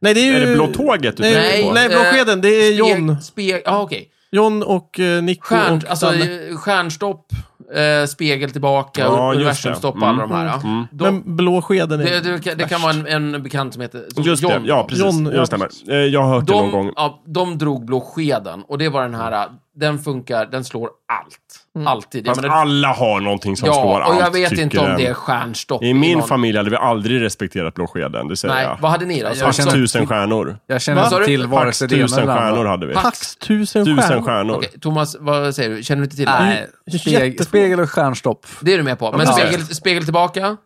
Speaker 1: Nej, det är ju...
Speaker 3: Är det Blå Tåget du
Speaker 1: Nej,
Speaker 3: tänker på?
Speaker 1: nej, Blåskeden, det är
Speaker 4: eh,
Speaker 1: John.
Speaker 4: Spe, spe, ja, okej.
Speaker 1: John och eh, Nico
Speaker 4: Stjärn,
Speaker 1: och
Speaker 4: alltså,
Speaker 1: Danne.
Speaker 4: eh, stjärnstopp, eh, spegel tillbaka,
Speaker 3: Ja, just
Speaker 4: universumstopp
Speaker 3: det. Mm.
Speaker 4: och alla de här. ja. Då-
Speaker 1: Men Blåskeden är...
Speaker 4: det, det, det kan vara en, en bekant som heter som
Speaker 3: Just det,
Speaker 4: John.
Speaker 3: ja precis.
Speaker 1: John, ja,
Speaker 3: det stämmer. Eh, Jag har hört det någon gång.
Speaker 4: De, ja, de drog blåskeden och det var den här, äh, den funkar, den slår allt.
Speaker 2: Mm.
Speaker 4: Alltid. Jag
Speaker 3: Fast
Speaker 4: menar-
Speaker 3: alla har någonting som slår
Speaker 4: ja,
Speaker 3: allt,
Speaker 4: och jag vet inte om
Speaker 3: jag.
Speaker 4: det är stjärnstopp.
Speaker 3: I min
Speaker 4: någon-
Speaker 3: familj hade vi aldrig respekterat Blåskeden, det säger
Speaker 4: Nej,
Speaker 3: jag. typ-
Speaker 4: vad hade ni då?
Speaker 2: Jag
Speaker 4: Som-
Speaker 3: Pax
Speaker 2: känner-
Speaker 4: som-
Speaker 3: tusen stjärnor.
Speaker 2: Jag känner
Speaker 4: Sa
Speaker 2: inte
Speaker 4: du?
Speaker 2: till vare
Speaker 3: Pax
Speaker 2: sig det ena
Speaker 3: tusen
Speaker 2: eller det andra.
Speaker 3: stjärnor hade vi.
Speaker 1: Pax tusen
Speaker 3: Tusen
Speaker 1: stjärnor.
Speaker 3: stjärnor.
Speaker 4: Okej, Thomas, vad säger du? Känner du inte till det?
Speaker 2: Nej, spegel,
Speaker 1: Jättefå.
Speaker 2: spegel och stjärnstopp.
Speaker 4: Det är du med på. Men
Speaker 3: Ja.
Speaker 4: spegel, spegel tillbaka?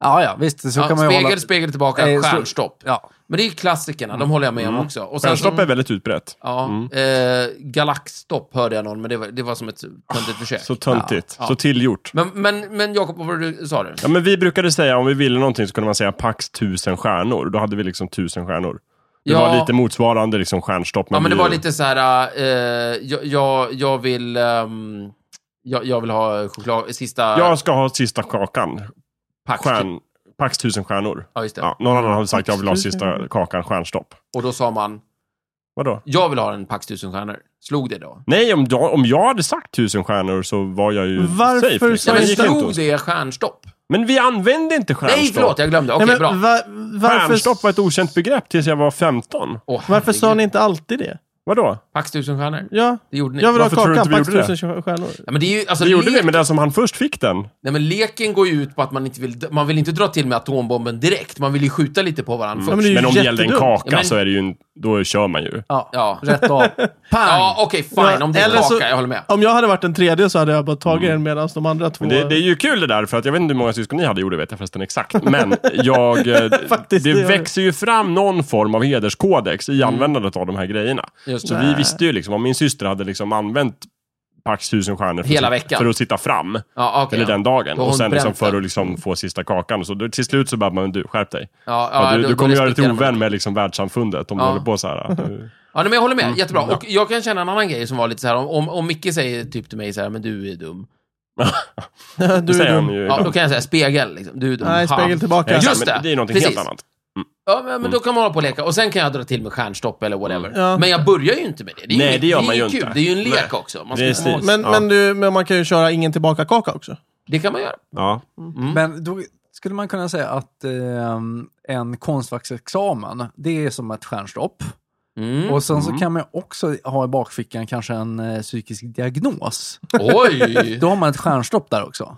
Speaker 2: Ja, ja, visst. Så
Speaker 4: Ja,
Speaker 2: kan man ju
Speaker 4: spegel,
Speaker 2: hålla...
Speaker 4: spegel tillbaka,
Speaker 2: Eh, så-
Speaker 4: stjärnstopp.
Speaker 2: Ja.
Speaker 4: Men det är ju klassikerna, de håller jag med om också. Och sen
Speaker 3: Mm. Stjärnstopp
Speaker 4: som-
Speaker 3: är Mm. väldigt utbrett.
Speaker 4: Ja, eh, galaxstopp hörde jag någon, men det var, det var som ett töntigt försök.
Speaker 3: Ah, Så töntigt.
Speaker 4: Ja.
Speaker 3: Så tillgjort.
Speaker 4: Men, men, men Jakob, vad var det du sa du?
Speaker 3: Ja, men vi brukade säga, om vi ville någonting så kunde man säga Pax tusen stjärnor. Då hade vi liksom tusen stjärnor. Det
Speaker 4: Ja.
Speaker 3: var lite motsvarande liksom stjärnstopp.
Speaker 4: Ja, men det
Speaker 3: vi-
Speaker 4: var lite så här, eh, jag, jag, jag vill... ehm, jag, jag vill ha choklad, sista
Speaker 3: Jag ska ha sista kakan.
Speaker 4: pack.
Speaker 3: Stjärn... Pax tusen stjärnor.
Speaker 4: Ja, just det.
Speaker 3: Ja, någon annan hade sagt
Speaker 1: Pax
Speaker 3: jag vill ha
Speaker 1: tusen
Speaker 3: sista
Speaker 1: stjärnor.
Speaker 3: kakan, stjärnstopp.
Speaker 4: Och då sa man,
Speaker 3: Vadå?
Speaker 4: jag vill ha en Pax tusen stjärnor. Slog det då?
Speaker 3: Nej, om jag, om jag hade sagt tusen stjärnor så var jag ju
Speaker 1: Varför
Speaker 3: safe.
Speaker 1: sa Nej,
Speaker 3: Det
Speaker 4: Ja, men
Speaker 1: du
Speaker 3: gick inte
Speaker 4: slog
Speaker 3: att-
Speaker 4: det stjärnstopp?
Speaker 3: Men vi använde inte stjärnstopp.
Speaker 4: Nej, förlåt, jag glömde. Okej,
Speaker 1: Nej, men
Speaker 4: bra.
Speaker 1: va- varför,
Speaker 3: Stjärnstopp var ett okänt begrepp tills jag var 15.
Speaker 4: Åh,
Speaker 1: varför sa
Speaker 4: herregud.
Speaker 1: ni inte alltid det?
Speaker 3: Vadå?
Speaker 4: Pax tusen stjärnor?
Speaker 1: Ja,
Speaker 4: Det gjorde ni.
Speaker 1: jag vill
Speaker 3: Varför
Speaker 1: ha
Speaker 3: tror du
Speaker 1: kakan,
Speaker 3: inte vi
Speaker 1: Pax
Speaker 3: gjorde det?
Speaker 1: tusen stjärnor.
Speaker 4: Ja, men det är ju, alltså,
Speaker 3: Det gjorde
Speaker 4: lek,
Speaker 3: vi, men den som han först fick den.
Speaker 4: Nej, men leken går ju ut på att man inte vill... Man vill inte dra till med atombomben direkt. Man vill ju skjuta lite på varandra
Speaker 1: Ja, men
Speaker 4: först.
Speaker 1: det är ju
Speaker 3: Men om det gällde en
Speaker 1: jättedumt.
Speaker 3: kaka
Speaker 4: Ja, men-
Speaker 3: så är det ju en, då kör man ju.
Speaker 2: Ja.
Speaker 4: Ja.
Speaker 2: Rätt av. Pang!
Speaker 4: Ja, okej, fine. Om det är en
Speaker 1: Eller
Speaker 4: kaka,
Speaker 1: så-
Speaker 4: jag håller med.
Speaker 1: Om jag hade varit den tredje så hade jag bara tagit den medan de andra två...
Speaker 3: Mm. Men det, det är ju kul det där, för att jag vet inte hur många syskon ni hade, jo det vet jag förresten exakt. Men jag, eh,
Speaker 1: Faktiskt,
Speaker 3: det
Speaker 1: det gör det.
Speaker 3: växer ju fram någon form av hederskodex i användandet av de här grejerna.
Speaker 4: Just
Speaker 3: Så
Speaker 4: det.
Speaker 3: vi visste ju liksom, om min syster hade liksom använt Pax tusen stjärnor för,
Speaker 4: Hela
Speaker 3: att-
Speaker 4: veckan.
Speaker 3: för att sitta fram,
Speaker 4: Ja, okej.
Speaker 3: eller den dagen,
Speaker 4: Då har
Speaker 3: och
Speaker 4: hon
Speaker 3: sen liksom
Speaker 4: bränt
Speaker 3: för
Speaker 4: den.
Speaker 3: att liksom få sista kakan. Så då, till slut så bara, men du, skärp dig.
Speaker 4: Ja, ja,
Speaker 3: Ja, du,
Speaker 4: då-
Speaker 3: du
Speaker 4: då
Speaker 3: kommer göra dig till
Speaker 4: respekterar man
Speaker 3: ovän
Speaker 4: det.
Speaker 3: med liksom världssamfundet om
Speaker 4: Ja.
Speaker 3: du håller på så här. Du,
Speaker 4: Ja, nej, men jag håller
Speaker 3: Mm,
Speaker 4: med. Jättebra. Och jag kan känna en annan grej som var lite så här, om, om, om Micke säger typ till mig så här, men du är dum.
Speaker 1: du
Speaker 3: säger
Speaker 1: är
Speaker 3: han
Speaker 1: dum.
Speaker 3: ju
Speaker 4: Ja,
Speaker 3: ibland.
Speaker 4: då kan jag säga spegel, liksom. Du är dum.
Speaker 1: Nej,
Speaker 4: Ha.
Speaker 1: spegel tillbaka.
Speaker 3: Exakt,
Speaker 4: Just
Speaker 3: men
Speaker 4: det.
Speaker 3: det är ju någonting
Speaker 4: Precis.
Speaker 3: helt annat. Mm.
Speaker 4: Ja, men, men då kan man hålla på och leka. Och sen kan jag dra till med stjärnstopp eller whatever.
Speaker 1: Ja.
Speaker 4: Men jag börjar ju inte med det. det är
Speaker 3: Nej,
Speaker 4: inget-
Speaker 3: det gör
Speaker 4: är
Speaker 3: man ju
Speaker 4: inget
Speaker 3: inte.
Speaker 4: Kul. Det är ju en lek
Speaker 3: Nej.
Speaker 4: också. Man ska,
Speaker 3: Precis.
Speaker 4: det,
Speaker 1: Men,
Speaker 3: Ja.
Speaker 1: men, du, men man kan ju köra ingen tillbaka-kaka också.
Speaker 4: det kan man göra.
Speaker 3: Ja. Mm.
Speaker 2: Men då skulle man kunna säga att eh, en konstfacksexamen, det är som ett stjärnstopp.
Speaker 4: Mm.
Speaker 2: Och sen så kan man också ha i bakfickan kanske en eh, psykisk diagnos.
Speaker 4: Oj!
Speaker 2: Då har man ett stjärnstopp där också.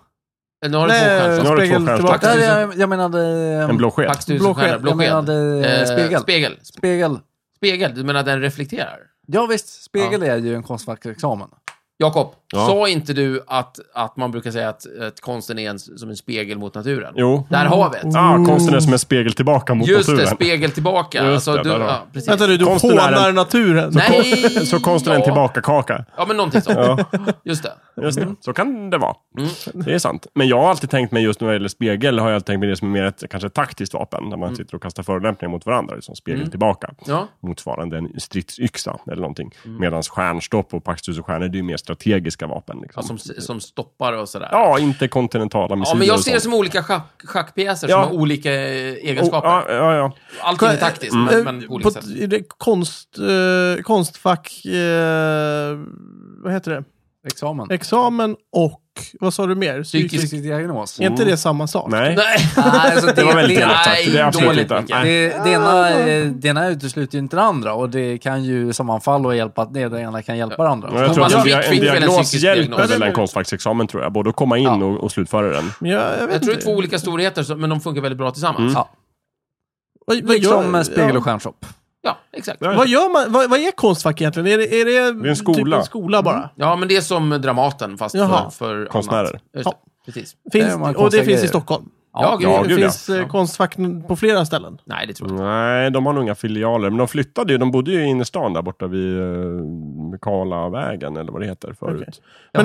Speaker 4: Nu har du två
Speaker 1: Nej,
Speaker 4: stjärnstopp.
Speaker 3: Nu har du två
Speaker 1: spegel
Speaker 3: stjärnstopp.
Speaker 1: tillbaka.
Speaker 2: Där jag, jag menade... eh,
Speaker 3: En blå sked.
Speaker 4: Pax tusen
Speaker 1: Blåsked.
Speaker 4: stjärnor.
Speaker 2: jag
Speaker 4: Blåsked.
Speaker 2: menade eh,
Speaker 4: Eh,
Speaker 2: spegel.
Speaker 4: spegel.
Speaker 2: Spegel.
Speaker 4: Spegel. Du menar den reflekterar?
Speaker 2: Ja visst, spegel är ju en konstfacksexamen.
Speaker 4: Jakob,
Speaker 3: Ja.
Speaker 4: Sa inte du att, att man brukar säga att, att konsten är en, som en spegel mot naturen?
Speaker 3: Jo.
Speaker 4: Där har vi det.
Speaker 3: Ah, konsten är som en spegel tillbaka mot
Speaker 4: Just det,
Speaker 3: naturen.
Speaker 4: spegel tillbaka.
Speaker 3: Just
Speaker 4: alltså,
Speaker 3: det, där
Speaker 4: du,
Speaker 3: har vi.
Speaker 4: ja, precis.
Speaker 1: Vänta nu, du
Speaker 3: Konstnären.
Speaker 1: hånar naturen.
Speaker 4: Nej!
Speaker 3: Så konsten är en tillbaka-kaka.
Speaker 4: Ja, men någonting sånt. Just det.
Speaker 3: Just
Speaker 4: Mm.
Speaker 3: det, så kan det vara. Det är sant. Men jag har alltid tänkt mig, just när det gäller spegel, har jag alltid tänkt mig det som är mer ett kanske ett taktiskt vapen. Där man sitter och kastar förolämpningar mot varandra. Liksom spegel tillbaka.
Speaker 4: Mm. Ja. Mm.
Speaker 3: Motsvarande en stridsyxa eller någonting. Medan stjärnstopp och paxtus och stjärnor, det är ju mer strategiska vapen. Liksom.
Speaker 4: Ja, som, som stoppar och sådär.
Speaker 3: Ja, inte kontinentala
Speaker 4: Ja,
Speaker 3: missiler
Speaker 4: men jag
Speaker 3: och
Speaker 4: ser det
Speaker 3: sånt.
Speaker 4: som olika schack, schackpjäser
Speaker 3: Ja.
Speaker 4: som har olika eh,
Speaker 3: Oh,
Speaker 4: egenskaper.
Speaker 3: ja, Mm. ja, ja.
Speaker 4: Allting är taktiskt, men, men på olika
Speaker 1: Eh, på,
Speaker 4: sätt.
Speaker 1: är det konst, eh, konstfack... Eh, vad heter det?
Speaker 2: Examen.
Speaker 1: Examen och... Vad sa du mer?
Speaker 4: Psykisk-
Speaker 2: Psykisk diagnos.
Speaker 1: Är inte det samma sak?
Speaker 3: Mm. Nej.
Speaker 4: Nej.
Speaker 2: Nej, alltså,
Speaker 3: Det var väldigt
Speaker 2: det-
Speaker 3: elakt sagt. Det är absolut
Speaker 4: dåligt,
Speaker 3: inte.
Speaker 4: Micke.
Speaker 3: Nej.
Speaker 2: Det, det, ena, eh, det ena utesluter ju inte det andra och det kan ju sammanfalla och hjälpa, det det ena kan hjälpa det andra.
Speaker 3: Ja, Jag tror
Speaker 4: Thomas
Speaker 3: att
Speaker 1: Alltså,
Speaker 3: en,
Speaker 4: Quick
Speaker 3: dia- en
Speaker 4: fick väl en
Speaker 3: diagnos
Speaker 4: psykisk
Speaker 3: hjälper
Speaker 4: diagnos.
Speaker 3: väl en konstfacksexamen, tror jag. Både att komma in
Speaker 2: Ja.
Speaker 3: och, och slutföra den.
Speaker 1: Men jag, jag vet
Speaker 4: Jag tror det är
Speaker 1: inte.
Speaker 4: två olika storheter, så- men de funkar väldigt bra
Speaker 3: Mm.
Speaker 4: tillsammans.
Speaker 2: Ja,
Speaker 1: Vad, vad,
Speaker 2: liksom
Speaker 1: gör,
Speaker 2: eh, spegel och
Speaker 1: ja,
Speaker 2: stjärnshop.
Speaker 4: Ja, exakt.
Speaker 3: Ja.
Speaker 1: vad gör man? Vad, vad är konstfack egentligen? Är det, är det,
Speaker 3: är en
Speaker 1: Typ
Speaker 3: skola.
Speaker 1: en skola bara?
Speaker 2: Mm.
Speaker 4: Ja, men det är som Dramaten, fast för,
Speaker 1: Jaha.
Speaker 4: för
Speaker 3: Konstnärer.
Speaker 4: annat. Just det.
Speaker 1: Ja.
Speaker 4: Precis.
Speaker 1: Finns,
Speaker 2: Det är många
Speaker 1: och
Speaker 2: konstiga
Speaker 1: det finns i
Speaker 2: grejer.
Speaker 1: Stockholm?
Speaker 4: Ja,
Speaker 3: Ja,
Speaker 1: det
Speaker 4: gud.
Speaker 3: gud, ja.
Speaker 1: finns eh, konstfack på flera ställen.
Speaker 4: Nej, det tror jag inte.
Speaker 3: Nej, de har nog inga filialer. Men de flyttade ju. De bodde ju i innerstan där borta vid eh, Karlavägen, eller vad det heter, förut.
Speaker 1: Okej.
Speaker 3: Men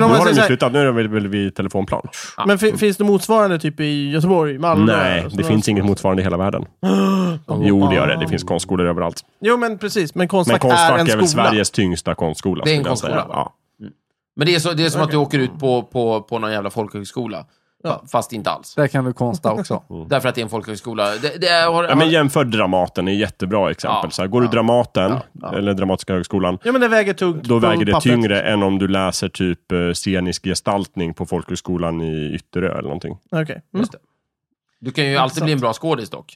Speaker 1: Men
Speaker 3: nu
Speaker 1: om man
Speaker 3: har
Speaker 1: säger
Speaker 3: de
Speaker 1: så
Speaker 3: ju
Speaker 1: här-
Speaker 3: flyttat. Nu är de väl- väl vid telefonplan.
Speaker 4: Ja.
Speaker 1: Men fi- finns det motsvarande typ i Göteborg, Malmö?
Speaker 3: Nej, det
Speaker 1: Sådana-
Speaker 3: finns inget motsvarande i hela världen. Jo, det gör det. Det finns konstskolor överallt.
Speaker 1: Jo, men precis. Men
Speaker 3: Men
Speaker 1: konstfack,
Speaker 3: Konstfack
Speaker 1: är en
Speaker 3: är, väl
Speaker 1: skola.
Speaker 3: Sveriges tyngsta konstskola.
Speaker 4: Det är en
Speaker 3: skulle jag säga.
Speaker 4: konstskola, va?
Speaker 3: Ja.
Speaker 4: Men det är, så, det är som att du åker ut på, på, på någon jävla folkhögskola. Fa- Fast inte alls.
Speaker 2: Där kan du konsta också.
Speaker 4: Därför att det är en folkhögskola. Det, det är, har,
Speaker 3: Mm. Ja, men jämför Dramaten, är ett jättebra exempel.
Speaker 4: Ja.
Speaker 3: så här, går du Dramaten, eller Dramatiska högskolan,
Speaker 1: Ja, men det väger tungt
Speaker 3: Då
Speaker 1: på
Speaker 3: väger det
Speaker 1: pappret.
Speaker 3: tyngre än om du läser typ eh, scenisk gestaltning på folkhögskolan i Ytterö eller någonting.
Speaker 1: Okej. Mm.
Speaker 4: du kan ju alltid bli en bra skådis dock.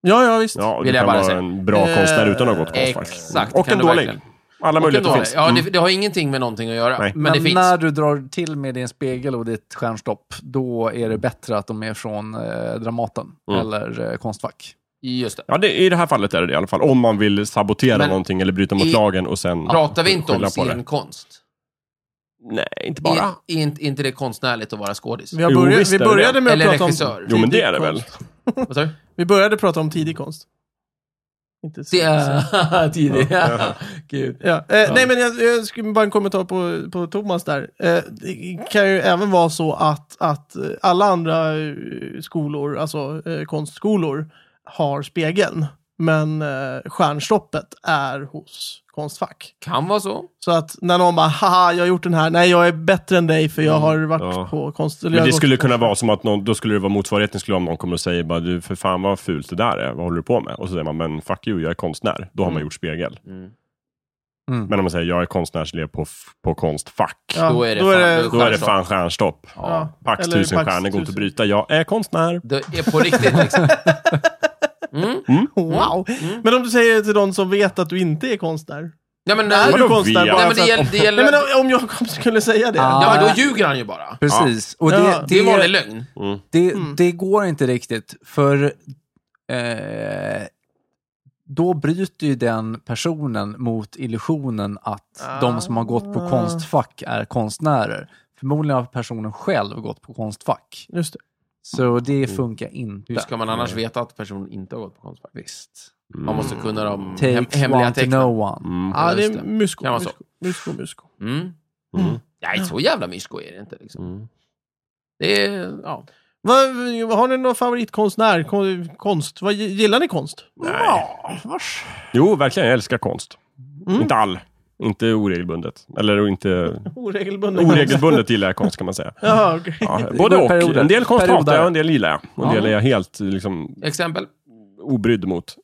Speaker 1: Ja, ja, visst.
Speaker 3: Ja,
Speaker 4: Vill
Speaker 3: du kan
Speaker 4: jag bara
Speaker 3: vara
Speaker 4: säga. Eh,
Speaker 3: en bra konstnär utan att ha gått konstfack.
Speaker 4: Exakt,
Speaker 3: Och
Speaker 4: kan
Speaker 3: en
Speaker 4: du
Speaker 3: dålig.
Speaker 4: verkligen.
Speaker 3: Alla möjligheter
Speaker 4: Och en
Speaker 3: finns. Mm.
Speaker 4: dålig. Ja, det, det har ingenting med någonting att göra.
Speaker 3: Nej.
Speaker 4: Men,
Speaker 2: Men
Speaker 4: det finns.
Speaker 2: när du drar till med din spegel och ditt stjärnstopp, då är det bättre att de är från eh, Dramaten
Speaker 3: Mm.
Speaker 2: eller eh, Konstfack.
Speaker 4: Just det.
Speaker 3: Ja, det, i det här fallet är det det i alla fall. Om man vill sabotera
Speaker 4: Men-
Speaker 3: någonting eller bryta mot
Speaker 4: i-
Speaker 3: lagen och sen...
Speaker 4: Pratar vi inte om
Speaker 3: skylla på det.
Speaker 4: scenkonst?
Speaker 3: Nej, inte
Speaker 4: Är,
Speaker 3: bara.
Speaker 4: är, inte- är inte det konstnärligt att vara skådis?
Speaker 1: Vi, har
Speaker 3: Jo,
Speaker 1: börjat,
Speaker 3: visst
Speaker 1: vi
Speaker 3: är det
Speaker 1: började
Speaker 3: det.
Speaker 1: med att
Speaker 4: Eller
Speaker 1: prata
Speaker 4: regissör.
Speaker 1: om...
Speaker 3: Jo, men det
Speaker 1: tidig
Speaker 3: är det väl.
Speaker 1: konst.
Speaker 4: Vad sa du?
Speaker 1: Vi började prata om tidig konst. Inte
Speaker 4: Det är tidigt.
Speaker 3: Ja.
Speaker 4: Gud.
Speaker 1: Ja. Eh, Nej, men jag, jag skulle bara en kommentar på, på Thomas där. Eh, det kan ju även vara så att, att eh, alla andra eh, skolor, alltså eh, konstskolor, har spegeln. Men eh, stjärnstoppet är hos Konstfack.
Speaker 4: Kan vara så.
Speaker 1: Så att när någon bara haha, jag har gjort den här. Nej, jag är bättre än dig för jag har varit
Speaker 3: Mm. Ja.
Speaker 1: på konst... eller alltså- jag
Speaker 3: Men
Speaker 1: har
Speaker 3: det
Speaker 1: gått
Speaker 3: skulle
Speaker 1: på
Speaker 3: kunna
Speaker 1: konstfack."
Speaker 3: vara som att någon, då skulle det vara motsvarigheten skulle om någon kommer och säger bara du för fan vad fult det där är, vad håller du på med? Och så säger man men fuck you, jag är konstnär. Då har man gjort spegel.
Speaker 1: Mm.
Speaker 2: Mm.
Speaker 3: Men om man säger jag är konstnärselev på, f- på konstfack,
Speaker 1: Ja,
Speaker 4: Då är det
Speaker 1: då är
Speaker 4: fan-
Speaker 1: det-
Speaker 3: då är det
Speaker 4: stjärnstopp.
Speaker 3: fan stjärnstopp.
Speaker 1: Ja.
Speaker 3: Pax
Speaker 1: Eller
Speaker 3: tusen
Speaker 1: Pax
Speaker 3: stjärnor går inte att
Speaker 1: tusen.
Speaker 3: bryta. Jag är konstnär.
Speaker 4: Det är på riktigt liksom. Mm.
Speaker 1: Wow! Men om du säger till någon som vet att du inte är konstnär?
Speaker 4: Nej, men,
Speaker 1: Är
Speaker 4: nej,
Speaker 3: Vadå
Speaker 1: du konstnär
Speaker 3: vet?
Speaker 1: bara
Speaker 4: nej,
Speaker 1: för
Speaker 4: men det
Speaker 1: att-
Speaker 4: gäller... Det
Speaker 1: Nej,
Speaker 4: gäller
Speaker 1: men om- om Jakob skulle säga det.
Speaker 2: Ah.
Speaker 4: ja, men då ljuger han ju bara.
Speaker 2: Precis. Och
Speaker 1: Ja.
Speaker 2: det,
Speaker 4: Det är en
Speaker 2: det,
Speaker 4: vanlig lögn.
Speaker 1: Mm.
Speaker 2: det, det går inte riktigt, för eh, då bryter ju den personen mot illusionen att de som har gått på Konstfack är konstnärer. Förmodligen har personen själv gått på Konstfack.
Speaker 1: Just det.
Speaker 2: Så det funkar inte.
Speaker 4: Hur ska man annars
Speaker 3: Mm.
Speaker 4: veta att personen inte har gått på konstfack?
Speaker 2: Visst.
Speaker 4: Man måste kunna de
Speaker 2: Take
Speaker 4: Mm. hem, hemliga
Speaker 2: one to
Speaker 4: tecknen.
Speaker 2: know one.
Speaker 3: Mm.
Speaker 1: Ja, det
Speaker 4: just
Speaker 1: är
Speaker 4: det.
Speaker 1: mysko.
Speaker 4: Kan vara så.
Speaker 1: mysko, mysko, mysko.
Speaker 4: Mm.
Speaker 3: Mm.
Speaker 4: Nej, så jävla mysko är det inte. Liksom.
Speaker 3: Mm.
Speaker 4: Det är, ja.
Speaker 1: Vad, har ni någon favoritkonstnär? Kon- Konst? Vad, gillar ni konst?
Speaker 3: Nej. Jo, verkligen. Jag älskar konst.
Speaker 1: Mm.
Speaker 3: Inte all. Inte oregelbundet. Eller inte...
Speaker 1: Oregelbunden konst.
Speaker 3: Oregelbundet gillar jag konst kan man säga.
Speaker 1: Jaha, okej.
Speaker 3: Ja,
Speaker 2: Det
Speaker 3: både
Speaker 2: går i
Speaker 3: och.
Speaker 2: perioder.
Speaker 3: En del konst hatar
Speaker 2: Perioder.
Speaker 3: jag och en del gillar jag. Och en
Speaker 4: Ja.
Speaker 3: del är jag helt liksom,
Speaker 4: Exempel?
Speaker 3: obrydd mot.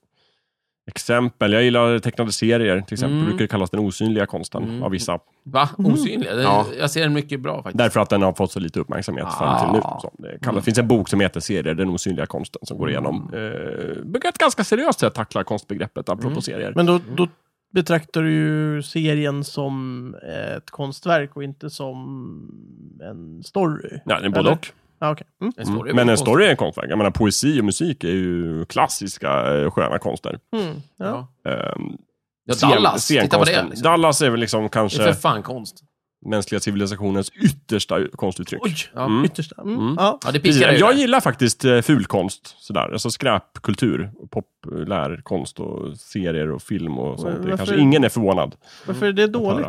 Speaker 3: Exempel. Jag gillar tecknade serier till exempel.
Speaker 4: Mm.
Speaker 3: brukar det kallas den osynliga konsten av vissa.
Speaker 4: Va?
Speaker 3: Mm.
Speaker 4: Osynliga? Det-
Speaker 3: Ja.
Speaker 4: Jag ser den mycket bra faktiskt.
Speaker 3: Därför att den har fått så lite uppmärksamhet fram till nu.
Speaker 2: Ah.
Speaker 3: Så det
Speaker 4: Mm.
Speaker 3: kallas, finns en bok som heter Serier, den osynliga konsten, som går igenom. Eh, brukar ett ganska seriöst sätt tackla konstbegreppet, apropå
Speaker 4: Mm.
Speaker 3: serier.
Speaker 1: Men då, då betraktar du ju serien som eh, ett konstverk och inte som en story.
Speaker 3: Nej, det är både
Speaker 1: Eller?
Speaker 3: och.
Speaker 1: Ja, okej. mm.
Speaker 4: En story är
Speaker 3: Men
Speaker 4: väl
Speaker 3: en
Speaker 4: konst-
Speaker 3: story är en konstverk. Jag menar, poesi och musik är ju klassiska eh, sköna konster.
Speaker 1: Mm. Ja.
Speaker 4: Ja.
Speaker 3: Ehm,
Speaker 4: Ja,
Speaker 3: scen-
Speaker 4: Dallas, titta på det.
Speaker 3: scenkonsten.
Speaker 4: Liksom.
Speaker 3: Dallas är väl liksom
Speaker 4: Det är
Speaker 3: kanske...
Speaker 4: för fan konst.
Speaker 3: mänskliga civilisationens yttersta konstuttryck.
Speaker 1: Oj!
Speaker 4: Ja.
Speaker 3: Mm.
Speaker 1: Yttersta. Mm. Ja.
Speaker 4: Ja, det piskar ju.
Speaker 3: Jag
Speaker 4: där.
Speaker 3: gillar faktiskt eh, fulkonst, sådär. alltså skräpkultur, populärkonst och serier och film och sånt. Det
Speaker 1: varför-
Speaker 3: kanske ingen är förvånad.
Speaker 1: Varför är det
Speaker 3: höra.
Speaker 1: dåligt?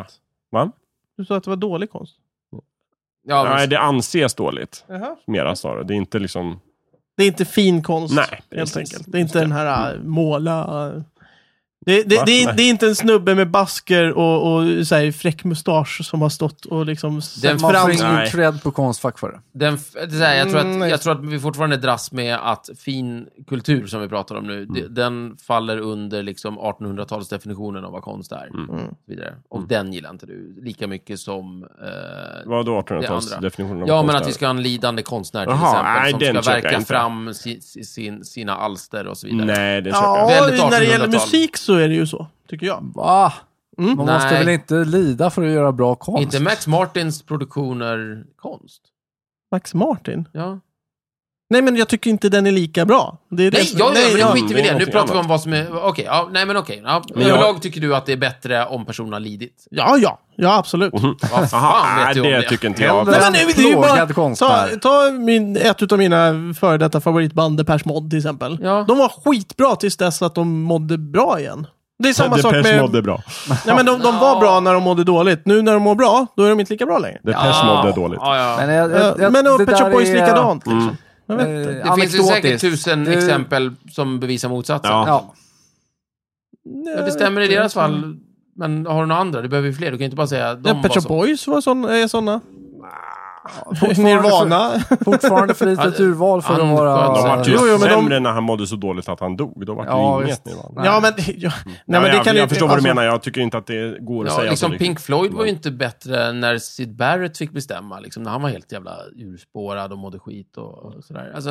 Speaker 3: Va?
Speaker 1: Du sa att det var dålig konst.
Speaker 4: Ja,
Speaker 3: Nej,
Speaker 4: men-
Speaker 3: det anses dåligt, mera snarare. Det är inte liksom...
Speaker 4: Eh,
Speaker 1: Det är inte fin konst,
Speaker 3: Nej,
Speaker 1: helt
Speaker 3: precis. Mm.
Speaker 1: enkelt. Det är inte den här äh, måla... äh. Det, det,
Speaker 3: Va?
Speaker 1: det, är,
Speaker 3: Nej.
Speaker 1: det är inte en snubbe med basker och, och så här, fräck mustasch som har stått och liksom...
Speaker 4: Den
Speaker 1: sett
Speaker 2: Man får
Speaker 1: fram-
Speaker 2: ingen
Speaker 3: Nej.
Speaker 2: cred på Konstfack för det.
Speaker 4: Den, f- det är så här, jag, tror
Speaker 1: Mm, nej.
Speaker 4: att, jag tror att vi fortfarande dras med att fin kultur, som vi pratar om nu,
Speaker 3: Mm.
Speaker 4: de- den faller under liksom 1800-talsdefinitionen av vad konst är.
Speaker 1: Mm.
Speaker 4: Och, så vidare. och den gillar inte du lika mycket som... Eh,
Speaker 3: Vad då
Speaker 4: Det
Speaker 3: 1800-talsdefinitionen av
Speaker 4: ja, men
Speaker 3: konst
Speaker 4: att vi
Speaker 3: är?
Speaker 4: ska ha en lidande konstnär till
Speaker 3: Jaha,
Speaker 4: exempel,
Speaker 3: nej, den
Speaker 4: som ska
Speaker 3: köper jag
Speaker 4: verka
Speaker 3: inte.
Speaker 4: fram si, si, sin, sina alster och så vidare.
Speaker 3: Nej, det köper
Speaker 1: Ja,
Speaker 3: jag
Speaker 4: Väldigt
Speaker 1: när det gäller
Speaker 4: 1800-tal.
Speaker 1: musik så är det ju så, tycker jag.
Speaker 2: Va?
Speaker 1: Mm.
Speaker 2: Man
Speaker 4: Nej.
Speaker 2: måste väl inte lida för att göra bra konst?
Speaker 4: Inte Max Martins produktioner konst?
Speaker 1: Max Martin?
Speaker 4: Ja.
Speaker 1: Nej, men jag tycker inte den är lika bra. Det är det
Speaker 4: Nej,
Speaker 1: som-
Speaker 4: jag,
Speaker 1: Nej,
Speaker 4: nej,
Speaker 1: jag-
Speaker 4: men skiter vi i det. Nu
Speaker 3: någonting
Speaker 4: pratar vi om
Speaker 3: annat.
Speaker 4: vad som är... Okej, ja, nej men okej. Ja.
Speaker 3: Men jag-
Speaker 4: Överlag tycker du att det är bättre om personen har lidit.
Speaker 1: Ja, ja. Ja, absolut.
Speaker 4: Vad fan
Speaker 3: Aha,
Speaker 4: vet
Speaker 3: nej,
Speaker 4: du om
Speaker 3: det
Speaker 4: det?
Speaker 3: tycker inte jag.
Speaker 1: Nej,
Speaker 2: Hellre-
Speaker 1: men nu, det är ju
Speaker 2: Plågad
Speaker 1: bara, ta
Speaker 2: konstnär.
Speaker 1: ta min, ett av mina före detta favoritband, Depeche Mode till exempel.
Speaker 4: Ja.
Speaker 1: De var skitbra tills dess att de mådde bra igen. Det är samma sak
Speaker 3: Depeche
Speaker 1: med...
Speaker 3: Mode är bra.
Speaker 1: Nej, men de, de var bra när de mådde dåligt. Nu när de mår bra, då är de inte lika bra längre.
Speaker 3: Depeche Mode är dåligt.
Speaker 4: Ja, ja.
Speaker 2: Men, jag,
Speaker 1: Eh,
Speaker 2: jag, jag,
Speaker 1: men
Speaker 2: det
Speaker 1: och Pet Shop
Speaker 2: där
Speaker 1: Boys
Speaker 2: är-
Speaker 1: likadant liksom. Jag
Speaker 2: eh,
Speaker 1: vet inte.
Speaker 4: det finns ju säkert
Speaker 2: anekdotiskt.
Speaker 4: tusen
Speaker 2: Det-
Speaker 4: exempel som bevisar motsatsen.
Speaker 3: Ja.
Speaker 4: Ja.
Speaker 2: Ja.
Speaker 4: det stämmer i deras fall. Men har du några andra? Du behöver ju fler. Du kan ju inte bara säga de
Speaker 1: Ja,
Speaker 4: var
Speaker 1: Pet Shop
Speaker 4: så.
Speaker 1: Boys var sån, är såna.
Speaker 2: fortfarande
Speaker 1: Nirvana.
Speaker 2: Fortfarande för litet urval för att
Speaker 4: Andskött.
Speaker 3: De
Speaker 2: vara...
Speaker 3: var ju
Speaker 1: Jo, jo, men de-
Speaker 3: sämre när han mådde så dåligt att han dog. Då var det
Speaker 2: Ja,
Speaker 3: ju inget
Speaker 2: visst.
Speaker 3: nu. va?
Speaker 2: Nej.
Speaker 1: Ja, men... Ja. Nej, men det
Speaker 3: jag,
Speaker 1: kan
Speaker 3: jag
Speaker 1: ju-
Speaker 3: förstår vad du
Speaker 1: alltså,
Speaker 3: menar. Jag tycker inte att det går att
Speaker 4: Ja,
Speaker 3: säga
Speaker 4: liksom
Speaker 3: så
Speaker 4: Pink
Speaker 3: riktigt.
Speaker 4: Floyd var ju inte bättre när Sid Barrett fick bestämma. Liksom, när han var helt jävla urspårad och mådde skit och, och sådär. Alltså,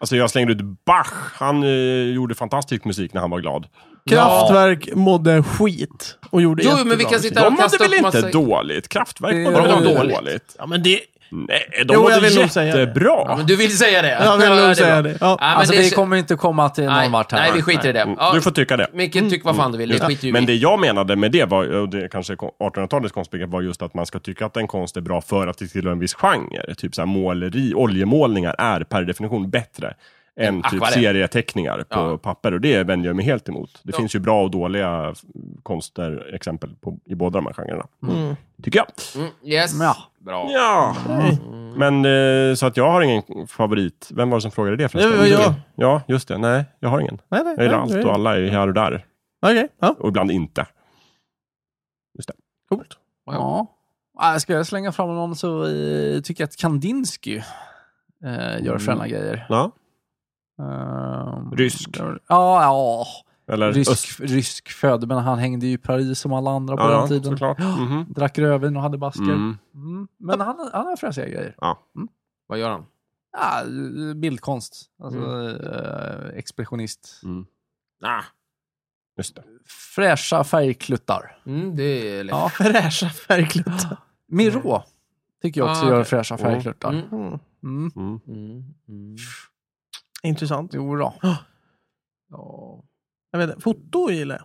Speaker 3: Alltså, jag slängde ut Bach. Han eh, gjorde fantastisk musik när han var glad.
Speaker 1: Kraftwerk mådde skit och gjorde
Speaker 4: Jo,
Speaker 1: jättebra
Speaker 4: men vi kan
Speaker 1: musik.
Speaker 4: sitta- Där
Speaker 3: De mådde
Speaker 4: kastar
Speaker 3: väl
Speaker 4: upp
Speaker 3: inte
Speaker 4: massa-
Speaker 3: dåligt? Kraftverk
Speaker 2: Det-
Speaker 3: mådde väl
Speaker 4: Ja,
Speaker 3: inte
Speaker 4: dåligt.
Speaker 3: dåligt?
Speaker 1: Ja, men det...
Speaker 3: Nej, de
Speaker 1: Jo, jag
Speaker 3: mådde
Speaker 1: vill nog säga det.
Speaker 3: jättebra.
Speaker 4: ja, men du vill säga det?
Speaker 1: Jag vill nog
Speaker 4: det är
Speaker 1: säga
Speaker 4: bra.
Speaker 1: det. Ja.
Speaker 4: men
Speaker 2: Alltså,
Speaker 4: det
Speaker 2: vi
Speaker 4: är-
Speaker 2: kommer inte komma till
Speaker 4: nej,
Speaker 2: någon vart här.
Speaker 4: Nej, vi skiter i det.
Speaker 3: Mm,
Speaker 4: Ja,
Speaker 3: Du får tycka det.
Speaker 4: Micke, tyck vad fan du vill. Det skiter ju
Speaker 3: Men
Speaker 4: vi
Speaker 3: det jag menade med det var, och det kanske är 1800-talets konstbegrepp, var just att man ska tycka att en konst är bra för att det tillhör en viss genre. Typ så här måleri, oljemålningar är per definition bättre än typ
Speaker 4: akvarell.
Speaker 3: serieteckningar på
Speaker 4: Ja.
Speaker 3: papper. Och det vänder jag mig helt emot. Det
Speaker 4: Ja.
Speaker 3: finns ju bra och dåliga f- konster, exempel på, i båda de här genrerna. Tycker jag.
Speaker 4: Mm, yes.
Speaker 2: Ja.
Speaker 4: Bra.
Speaker 3: Ja. Men eh, så att jag har ingen favorit. Vem var det som frågade det förresten?
Speaker 1: Det var jag.
Speaker 3: Ja, just det. Nej, jag har ingen.
Speaker 1: Nej, nej,
Speaker 3: Jag gillar
Speaker 1: nej,
Speaker 3: allt
Speaker 1: nej.
Speaker 3: och alla är här och där.
Speaker 1: Okej, ja.
Speaker 3: Och ibland inte.
Speaker 1: Coolt.
Speaker 2: Ja. Ah, Ska jag slänga fram någon så eh, tycker jag att Kandinsky eh, gör
Speaker 4: Mm.
Speaker 2: sköna grejer.
Speaker 3: Ja.
Speaker 2: Ehm,
Speaker 3: Rysk.
Speaker 2: Ja, ja.
Speaker 3: Eller öst.
Speaker 2: Rysk, rysk född, men han hängde ju i Paris som alla andra på
Speaker 3: Ja,
Speaker 2: den tiden.
Speaker 3: såklart. Mhm.
Speaker 2: Drack rödvin och hade basker.
Speaker 3: Mm.
Speaker 2: Mm. Men han, han har fräsiga grejer.
Speaker 4: Vad gör han?
Speaker 2: Ja, bildkonst. Alltså, eh, expressionist.
Speaker 4: Ah.
Speaker 3: Just det.
Speaker 2: Fräscha färgkluttar.
Speaker 4: Mm, det är lätt.
Speaker 2: Ja.
Speaker 1: Fräscha färgkluttar.
Speaker 2: Miró tycker jag också
Speaker 4: Ah,
Speaker 2: gör
Speaker 4: okej.
Speaker 2: fräscha färgkluttar.
Speaker 4: Mm.
Speaker 1: Mm.
Speaker 2: Mm.
Speaker 3: Mm.
Speaker 4: Mm. Mm.
Speaker 1: Intressant.
Speaker 2: Jo då.
Speaker 4: Ja.
Speaker 1: Jag vet, inte, foto gillar jag.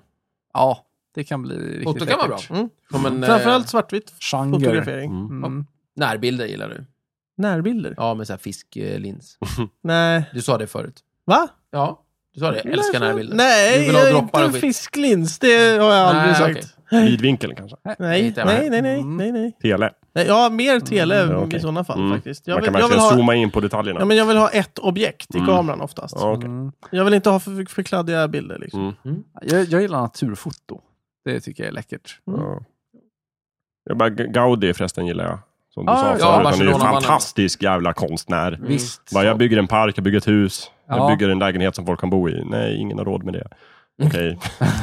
Speaker 2: Ja, det kan bli riktigt
Speaker 4: Foto kan vara bra.
Speaker 2: läckert.
Speaker 1: Mm.
Speaker 4: Som en, eh,
Speaker 1: Framförallt svartvitt
Speaker 2: Genre.
Speaker 1: fotografering.
Speaker 3: Mm.
Speaker 2: Mm.
Speaker 4: Närbilder gillar du.
Speaker 1: Närbilder?
Speaker 4: Ja, med så här fisklins.
Speaker 1: Nej.
Speaker 4: Du sa det förut.
Speaker 1: Va?
Speaker 4: Ja, du sa det. Jag älskar
Speaker 1: Nej,
Speaker 4: närbilder. Du
Speaker 1: Nej,
Speaker 4: vill ha
Speaker 1: jag är
Speaker 4: droppar och
Speaker 1: inte
Speaker 4: skit.
Speaker 1: fisklins. Det har jag aldrig
Speaker 4: Nej,
Speaker 1: sagt.
Speaker 4: okej.
Speaker 3: Vidvinkeln kanske.
Speaker 1: Nej,
Speaker 4: Inte jag
Speaker 1: nej,
Speaker 4: heller.
Speaker 1: nej, nej,
Speaker 2: Mm.
Speaker 1: nej, nej.
Speaker 3: Tele.
Speaker 1: Nej, Jag har
Speaker 4: Mm,
Speaker 1: mer tele
Speaker 3: Ja, okej.
Speaker 1: i sådana fall
Speaker 3: Mm.
Speaker 1: faktiskt. Jag
Speaker 3: Man
Speaker 1: vill,
Speaker 3: kan
Speaker 1: jag, vill
Speaker 3: verkligen
Speaker 1: ha,
Speaker 3: zooma in på detaljerna.
Speaker 1: ja, men jag vill ha ett objekt i
Speaker 3: Mm.
Speaker 1: kameran oftast.
Speaker 3: Ja, okej.
Speaker 2: Mm.
Speaker 1: Jag vill inte ha för, för kladdiga bilder. Liksom.
Speaker 3: Mm.
Speaker 2: Jag, jag gillar naturfoto. Det tycker jag är läckert.
Speaker 3: Ja. Jag bara, Gaudi förresten gillar jag. Som du
Speaker 2: Ah,
Speaker 3: sa
Speaker 2: ja,
Speaker 3: förut. Han är ju en
Speaker 4: Barcelona-mannen.
Speaker 3: fantastisk jävla konstnär.
Speaker 2: Visst.
Speaker 3: Bara, jag bygger en park, jag bygger ett hus.
Speaker 2: Ja.
Speaker 3: Jag bygger en lägenhet som folk kan bo i. Nej, ingen har råd med det. Okej.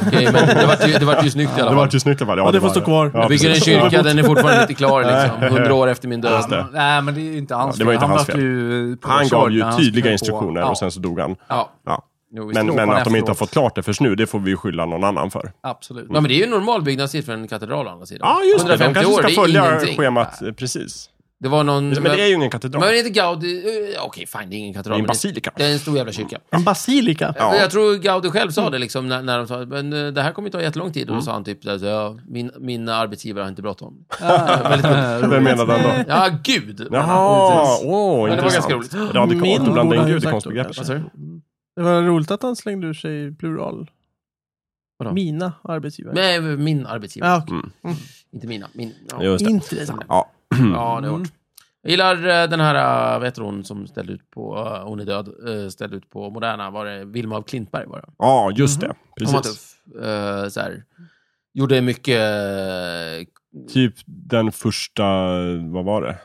Speaker 4: Okej, men det var, ju, det var ju snyggt i alla
Speaker 3: Det var
Speaker 4: fall.
Speaker 3: ju snyggt i alla fall. Ja,
Speaker 1: Ja, det får
Speaker 3: var
Speaker 1: stå kvar.
Speaker 3: Ja,
Speaker 4: Jag bygger en
Speaker 3: precis.
Speaker 4: kyrka, den är fortfarande inte klar liksom. Hundra år efter min
Speaker 2: Ja,
Speaker 4: död.
Speaker 2: men- Nej, men det är ju inte hans
Speaker 3: Ja, det var
Speaker 2: fel.
Speaker 3: inte
Speaker 2: Han
Speaker 3: hans
Speaker 2: vart
Speaker 3: fel.
Speaker 2: ju
Speaker 3: Han
Speaker 2: påkörd
Speaker 3: gav
Speaker 2: när
Speaker 3: ju
Speaker 2: han
Speaker 3: tydliga
Speaker 2: sprang på-
Speaker 3: instruktioner
Speaker 2: Ja,
Speaker 3: och sen så dog han.
Speaker 4: Ja.
Speaker 3: Ja.
Speaker 4: Jo, visst.
Speaker 3: Men,
Speaker 2: Slog
Speaker 3: men
Speaker 2: han
Speaker 3: att de inte har
Speaker 2: efteråt.
Speaker 3: fått klart det först nu, det får vi skylla någon annan för.
Speaker 2: Absolut.
Speaker 4: Ja, men det är ju en normal byggnadstid för en katedral å andra sidan.
Speaker 3: Ja, just det. De
Speaker 4: 150
Speaker 3: kanske
Speaker 4: år,
Speaker 3: ska
Speaker 4: det är
Speaker 3: följa
Speaker 4: ingenting.
Speaker 3: schemat. eh, Precis.
Speaker 4: Det var någon...
Speaker 3: Men det är ju ingen
Speaker 4: Men
Speaker 3: katedral.
Speaker 4: var det inte Gaudi... eh, Okej, fine, det är ingen
Speaker 3: Det
Speaker 4: katedral.
Speaker 3: är en
Speaker 4: men
Speaker 3: basilika.
Speaker 4: det är en stor jävla kyrka.
Speaker 1: En basilika.
Speaker 3: Ja. Mm.
Speaker 4: Men Jag tror Gaudi själv sa det liksom, när, när de sa men eh, det här kommer ju ta jättelång tid. Och då sa han typ att ja, min, min arbetsgivare har inte bråttom.
Speaker 3: Mm. Vem menade han då?
Speaker 4: Ja, gud!
Speaker 3: Jaha, åh,
Speaker 4: Men det var
Speaker 3: intressant.
Speaker 4: ganska roligt.
Speaker 3: Det är adekvat
Speaker 1: Min
Speaker 3: att blanda in
Speaker 1: borde
Speaker 3: Gud i
Speaker 1: ha sagt
Speaker 3: konstbegreppet.
Speaker 1: det.
Speaker 4: Vad sa du?
Speaker 1: Det var roligt att han slängde ur sig i plural.
Speaker 4: Vadå?
Speaker 1: Mina arbetsgivare.
Speaker 4: Nej, min arbetsgivare.
Speaker 1: Ja, okej.
Speaker 4: Inte mina. Min, ja.
Speaker 3: Just det.
Speaker 1: Intressant.
Speaker 3: Ja.
Speaker 4: Ja, det är hårt. Jag gillar eh, den här, eh, vad heter hon som ställde ut på, eh, hon är död, eh, ställde ut på Moderna, var det Vilma av Klintberg var det?
Speaker 3: ja, just det.
Speaker 4: Hon var
Speaker 3: Precis.
Speaker 4: tuff. Eh, så här. Gjorde mycket, eh,
Speaker 3: Typ den första, vad var det?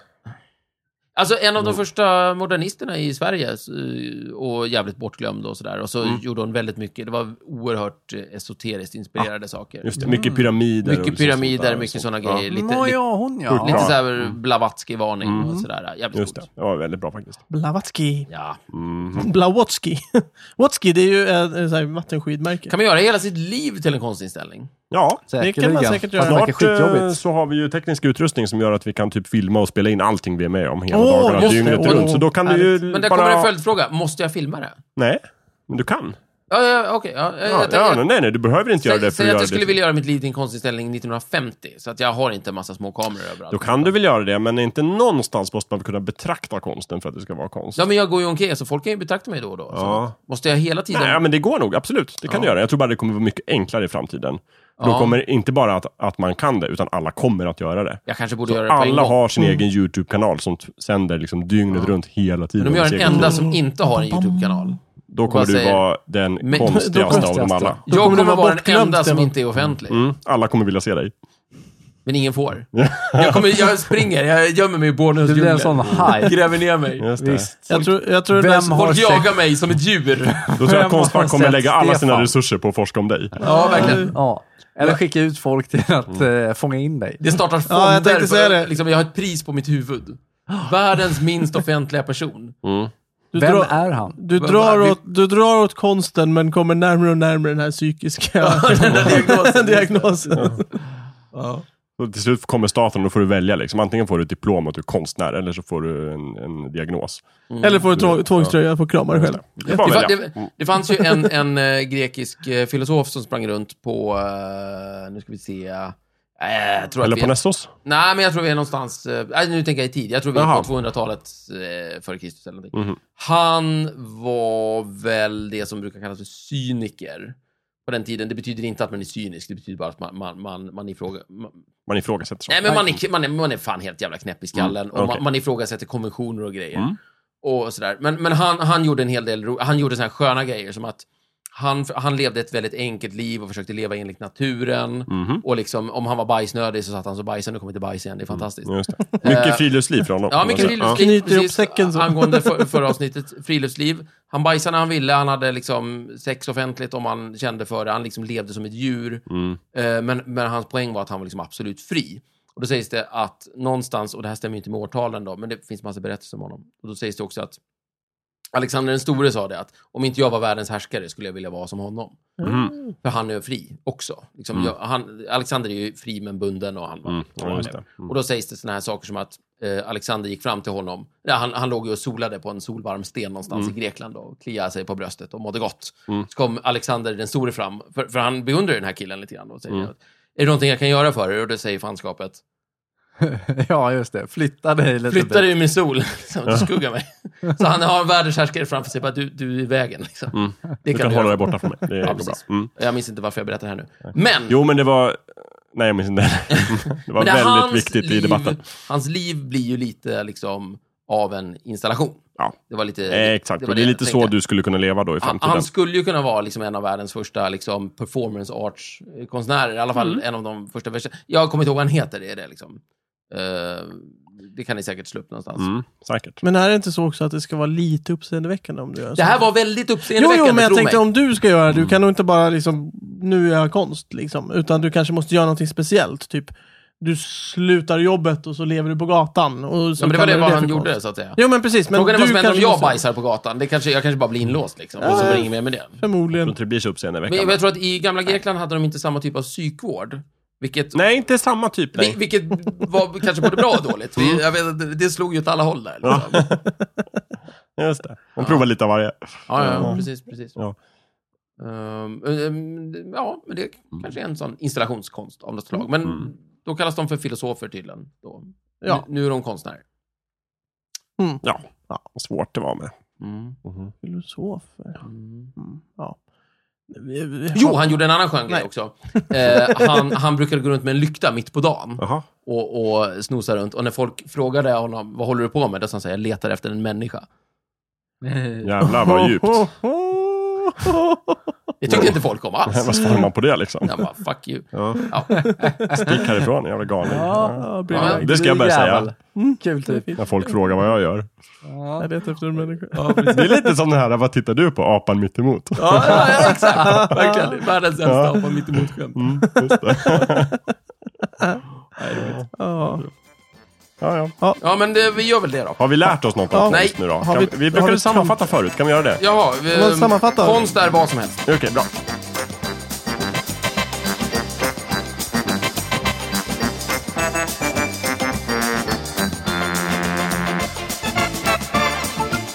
Speaker 4: alltså en
Speaker 3: Mm.
Speaker 4: av de första modernisterna i Sverige eh, och jävligt bortglömd och sådär. Och så
Speaker 3: Mm.
Speaker 4: gjorde hon väldigt mycket, det var oerhört eh, esoteriskt inspirerade saker.
Speaker 3: Just det, mycket pyramider. och
Speaker 4: Mm. Mycket
Speaker 3: liksom sånt
Speaker 4: pyramider,
Speaker 3: där.
Speaker 4: mycket
Speaker 3: Sånt.
Speaker 4: sådana
Speaker 3: Ja,
Speaker 4: grejer. Lite, lite,
Speaker 2: Nåja, hon ja.
Speaker 4: lite
Speaker 3: Ja. Mm.
Speaker 4: så här Blavatsky-varning och sådär. Jävligt
Speaker 3: Just
Speaker 4: coolt.
Speaker 3: det, det var väldigt bra faktiskt.
Speaker 1: Blavatsky.
Speaker 4: Ja.
Speaker 3: Mm.
Speaker 1: Blawatski. Watsky, det är ju ett, ett så här vattenskidmärke.
Speaker 4: Kan man göra hela sitt liv till en konstinställning?
Speaker 3: Ja,
Speaker 1: Det kan man säkert göra.
Speaker 2: Fast det verkar
Speaker 3: snart eh,
Speaker 2: skitjobbigt.
Speaker 3: så har vi ju teknisk utrustning som gör att vi kan typ filma och spela in allting vi är med om hela
Speaker 1: Åh,
Speaker 3: dagarna,
Speaker 1: just det.
Speaker 3: dygnet
Speaker 1: Åh,
Speaker 3: runt. Så då kan du ju
Speaker 4: Men där kommer en
Speaker 3: bara...
Speaker 4: följdfråga. Måste jag filma det?
Speaker 3: Nej, men du kan.
Speaker 4: Ja, ja, okej. ja, jag-
Speaker 3: Ja,
Speaker 4: jag- jag-
Speaker 3: ja, nej, nej, du behöver inte göra
Speaker 4: Säg,
Speaker 3: det för
Speaker 4: säg
Speaker 3: att
Speaker 4: att
Speaker 3: göra
Speaker 4: jag skulle
Speaker 3: det.
Speaker 4: vilja göra mitt liv till en konstinställning 1950, så att jag har inte en massa små kameror överallt.
Speaker 3: Då kan du väl göra det, men inte någonstans måste man väl kunna betrakta konsten för att det ska vara konst.
Speaker 4: Ja, men jag går ju omkring, så folk kan ju betrakta mig då och då.
Speaker 3: Ja.
Speaker 4: Så måste jag hela tiden...
Speaker 3: Nej, men det går nog, absolut. Det kan
Speaker 4: Ja.
Speaker 3: du göra. Jag tror bara det kommer vara mycket enklare i framtiden. Då
Speaker 4: Ja.
Speaker 3: kommer inte bara att, att man kan det, utan alla kommer att göra det.
Speaker 4: Jag kanske borde göra det på en
Speaker 3: Alla
Speaker 4: gång. Mm.
Speaker 3: har sin egen YouTube-kanal som t- sänder liksom dygnet runt hela tiden.
Speaker 4: Men om jag
Speaker 3: med sin
Speaker 4: är den
Speaker 3: egen
Speaker 4: enda
Speaker 3: tid.
Speaker 4: som inte har en YouTube-kanal.
Speaker 3: Då kommer
Speaker 4: Vad
Speaker 3: du
Speaker 4: säger-
Speaker 3: vara den
Speaker 4: Men-
Speaker 3: konstigaste av dem alla.
Speaker 1: Då kommer
Speaker 4: Jag
Speaker 1: du
Speaker 4: kommer
Speaker 1: vara
Speaker 4: vara den
Speaker 1: bortglömd,
Speaker 4: enda som
Speaker 1: Stefan.
Speaker 4: inte är offentlig.
Speaker 3: Mm, alla kommer vilja se dig.
Speaker 4: Men ingen får. Jag, kommer, jag springer, jag gömmer mig i Borneos
Speaker 2: Du blir en
Speaker 4: djungler.
Speaker 2: sån hype.
Speaker 4: Gräver ner mig.
Speaker 3: Just det.
Speaker 1: Jag tror, jag tror
Speaker 2: Vem
Speaker 1: det
Speaker 2: har
Speaker 4: Folk
Speaker 2: sex?
Speaker 4: jagar mig som ett djur.
Speaker 3: Då tror jag
Speaker 2: Vem
Speaker 3: att
Speaker 2: har
Speaker 3: Konstfack kommer
Speaker 2: sett
Speaker 3: lägga alla sina
Speaker 2: Stefan?
Speaker 3: resurser på att forska om dig.
Speaker 4: Ja, verkligen.
Speaker 2: Ja. Eller skicka ut folk till att
Speaker 3: Mm.
Speaker 2: eh, fånga in dig.
Speaker 4: Det startar fonder.
Speaker 1: Ja, jag tänkte säga
Speaker 4: för-
Speaker 1: det.
Speaker 4: Liksom, jag har ett pris på mitt huvud. Världens minst offentliga person.
Speaker 1: du
Speaker 2: Vem
Speaker 1: drar,
Speaker 2: är han?
Speaker 1: du, drar åt, du drar åt konsten men kommer närmare och närmare den här psykiska
Speaker 4: Den där diagnosen.
Speaker 1: diagnosen.
Speaker 3: Och till slut kommer staten och då får du välja. Liksom. Antingen får du ett diplom att du är konstnär eller så får du en, en diagnos.
Speaker 1: Eller får du tvångströja på kramar själv.
Speaker 3: Det är bara
Speaker 4: Det,
Speaker 3: att
Speaker 4: fa-
Speaker 3: välja.
Speaker 4: det, det fanns ju en, en eh, grekisk eh, filosof som sprang runt på, eh, nu ska vi se, eh, jag tror
Speaker 3: Eller
Speaker 4: att vi
Speaker 3: på
Speaker 4: är,
Speaker 3: Nessos.
Speaker 4: nej men jag tror vi är någonstans, eh, nej, nu tänker jag i tid, jag tror vi är
Speaker 3: Jaha.
Speaker 4: på 200-talet eh, före Kristus eller någonting.
Speaker 3: Mhm.
Speaker 4: Han var väl det som brukar kallas för cyniker på den tiden. Det betyder inte att man är cynisk, det betyder bara att man, man, man, man, ifråga, man,
Speaker 3: Man ifrågasätter sånt.
Speaker 4: Nej, men man är, man, är, man är fan helt jävla knäpp i skallen.
Speaker 3: Mm,
Speaker 4: Och
Speaker 3: okej.
Speaker 4: man, man ifrågasätter konventioner och grejer.
Speaker 3: Mm.
Speaker 4: Och sådär. Men, men han, han gjorde en hel del ro, han gjorde såna här sköna grejer som att han, han levde ett väldigt enkelt liv och försökte leva enligt naturen.
Speaker 3: Mhm. Mm.
Speaker 4: Och liksom, om han var bajsnödig så satt han så bajsade och kom inte bajs igen. Det är fantastiskt.
Speaker 3: Just det. Mycket friluftsliv från honom.
Speaker 4: Eh, Ja, mycket
Speaker 3: Ja.
Speaker 4: friluftsliv.
Speaker 1: Knyter ihop
Speaker 4: precis.
Speaker 1: säcken så.
Speaker 4: Angående för, förra avsnittet, friluftsliv. Han bajsade när han ville, han hade liksom sex offentligt om han kände för det. Han liksom levde som ett djur.
Speaker 3: Mm.
Speaker 4: Eh, Men, men hans poäng var att han var liksom absolut fri. Och då sägs det att någonstans, och det här stämmer ju inte med årtalen då, men det finns massa berättelser om honom. Och då sägs det också att Alexander den store sa det att om inte jag var världens härskare skulle jag vilja vara som honom.
Speaker 3: Mm.
Speaker 4: För han är fri också. Liksom, jag, han, Alexander är ju fri men bunden och han var
Speaker 3: Mm, ja,
Speaker 4: och han
Speaker 3: just
Speaker 4: är-
Speaker 3: det. Mm.
Speaker 4: Och då sägs det såna här saker som att eh, Alexander gick fram till honom. Ja, han, han låg ju och solade på en solvarm sten någonstans
Speaker 3: Mm.
Speaker 4: i Grekland då, och kliade sig på bröstet och mådde gott. Så kom Alexander den store fram, för, för han beundrar den här killen lite grann och säger
Speaker 3: Mm.
Speaker 4: att är det någonting jag kan göra för er? Och då säger fanskapet,
Speaker 2: ja, just det. Flytta dig lite. typ.
Speaker 4: flytta dig ur min sol, liksom, du skuggar mig. Så han har en världens härskare framför sig, bara du, du är i vägen. Liksom. Det
Speaker 3: Mm. Du kan hålla
Speaker 4: du göra.
Speaker 3: dig borta från mig. Det
Speaker 4: Ja,
Speaker 3: är bra.
Speaker 4: precis.
Speaker 3: Mm.
Speaker 4: Jag minns inte varför jag berättar det här nu. Men!
Speaker 3: Jo, men det var... Nej, jag minns inte. Det var
Speaker 4: Men det är
Speaker 3: väldigt
Speaker 4: hans
Speaker 3: viktigt i
Speaker 4: liv-
Speaker 3: debatten.
Speaker 4: Hans liv blir ju lite liksom av en installation.
Speaker 3: Ja.
Speaker 4: Det var lite...
Speaker 3: Eh, exakt, och det är
Speaker 4: jag
Speaker 3: lite så
Speaker 4: tänkte. Ah,
Speaker 3: du skulle kunna leva då i
Speaker 4: Han,
Speaker 3: framtiden.
Speaker 4: han skulle ju kunna vara liksom en av världens första liksom, performance arts-konstnärer. I alla fall en av de första. vers- Jag kommer inte ihåg vad han heter. Det, är det, liksom. Eh, det kan ni säkert slå upp någonstans.
Speaker 3: Mm, säkert.
Speaker 1: Men är det inte så också att det ska vara lite uppseendeväckande om du gör så?
Speaker 4: Det här var väldigt
Speaker 1: Jo,
Speaker 4: uppseendeväckande,
Speaker 1: jo, men jag
Speaker 4: tro
Speaker 1: tänkte
Speaker 4: mig. Mm.
Speaker 1: om du ska göra det, du kan nog inte bara liksom, nu är jag konst liksom, utan du kanske måste göra någonting speciellt, typ du slutar jobbet och så lever du på gatan. Och så
Speaker 4: Ja, men det var
Speaker 1: kallar
Speaker 4: det
Speaker 1: du
Speaker 4: vad
Speaker 1: för
Speaker 4: han
Speaker 1: konst.
Speaker 4: gjorde, så att säga.
Speaker 1: Jo, men precis. Men
Speaker 4: Frågan är
Speaker 1: du
Speaker 4: vad som händer om
Speaker 1: kanske
Speaker 4: jag
Speaker 1: måste-
Speaker 4: bajsar på gatan. Det kanske, jag kanske bara blir inlåst liksom. Och så var det inget mer med det.
Speaker 3: Jag tror
Speaker 1: Förmodligen.
Speaker 3: inte det blir så
Speaker 4: Men
Speaker 3: uppseendeväckande.
Speaker 4: jag tror att i gamla Grekland hade de inte samma typ av psykvård. Vilket,
Speaker 3: Nej, inte samma typ.
Speaker 4: vi,
Speaker 3: Nej.
Speaker 4: vilket var kanske både bra och dåligt. Vi, jag vet, att det- det slog ju åt alla håll där. Liksom. Ja.
Speaker 3: Just det. De provar lite av varje.
Speaker 4: Ja, ja, precis. precis.
Speaker 3: Ja.
Speaker 4: Ehm, ehm, ja, men det kanske är en sån installationskonst av något slag. Men
Speaker 3: Mm.
Speaker 4: då kallas de för filosofer tydligen. Då.
Speaker 1: Ja.
Speaker 4: Nu, nu är de konstnärer.
Speaker 3: Ja. ja, svårt det var med.
Speaker 4: Mm.
Speaker 3: Mhm.
Speaker 1: Filosofer.
Speaker 4: Mm.
Speaker 1: Mm, ja. Vi- vi-
Speaker 4: Jo, han gjorde en annan skön grej
Speaker 1: Nej.
Speaker 4: också. Eh, han, han brukade gå runt med en lykta mitt på dagen
Speaker 3: Jaha.
Speaker 4: och, och snosa runt. Och när folk frågade honom, vad håller du på med? Då sa han, så här, jag letar efter en människa.
Speaker 3: Jävlar vad djupt.
Speaker 4: Det tyckte inte folk om alls.
Speaker 3: Vad svarar man på det liksom?
Speaker 4: Han bara, fuck you.
Speaker 3: Ja.
Speaker 4: Ja.
Speaker 3: Stick härifrån, jävla galning. Ja.
Speaker 1: Ja,
Speaker 4: Ja,
Speaker 1: bra.
Speaker 3: det ska jag börja säga.
Speaker 2: Jävel.
Speaker 1: Mm.
Speaker 2: Kul typ.
Speaker 3: När folk frågar vad jag gör.
Speaker 2: Ja.
Speaker 1: Jag letar efter en människa.
Speaker 3: Det är lite som det här, vad tittar du på? Apan mittemot.
Speaker 4: Ja, ja, ja, exakt. Verkligen. Världens sämsta apa mitt emot skämt.
Speaker 3: Mm, just det.
Speaker 1: Ja.
Speaker 3: ja, ja.
Speaker 4: Ja, men det, vi gör väl det då.
Speaker 3: Har vi lärt oss något
Speaker 1: Ja.
Speaker 3: av
Speaker 4: Nej.
Speaker 3: konst nu då?
Speaker 1: Har
Speaker 3: Kan,
Speaker 1: vi-
Speaker 3: vi,
Speaker 1: har
Speaker 3: brukade
Speaker 1: vi-
Speaker 3: sammanfatta förut, kan vi göra det?
Speaker 4: Jaha,
Speaker 1: Vad
Speaker 4: vi,
Speaker 1: sammanfattar vi?
Speaker 4: konst är vad som helst.
Speaker 3: Okej, bra.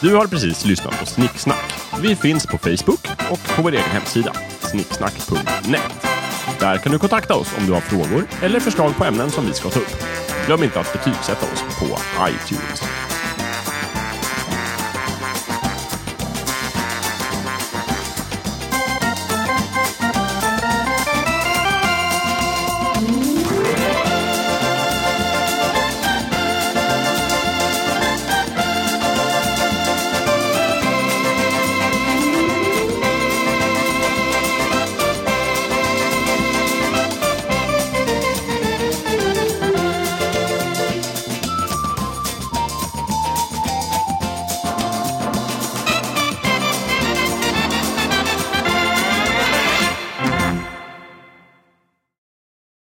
Speaker 3: Du har precis lyssnat på Snicksnack. Vi finns på Facebook och på vår egen hemsida, snicksnack.net. Där kan du kontakta oss om du har frågor eller förslag på ämnen som vi ska ta upp. Glöm inte att betygsätta oss på iTunes.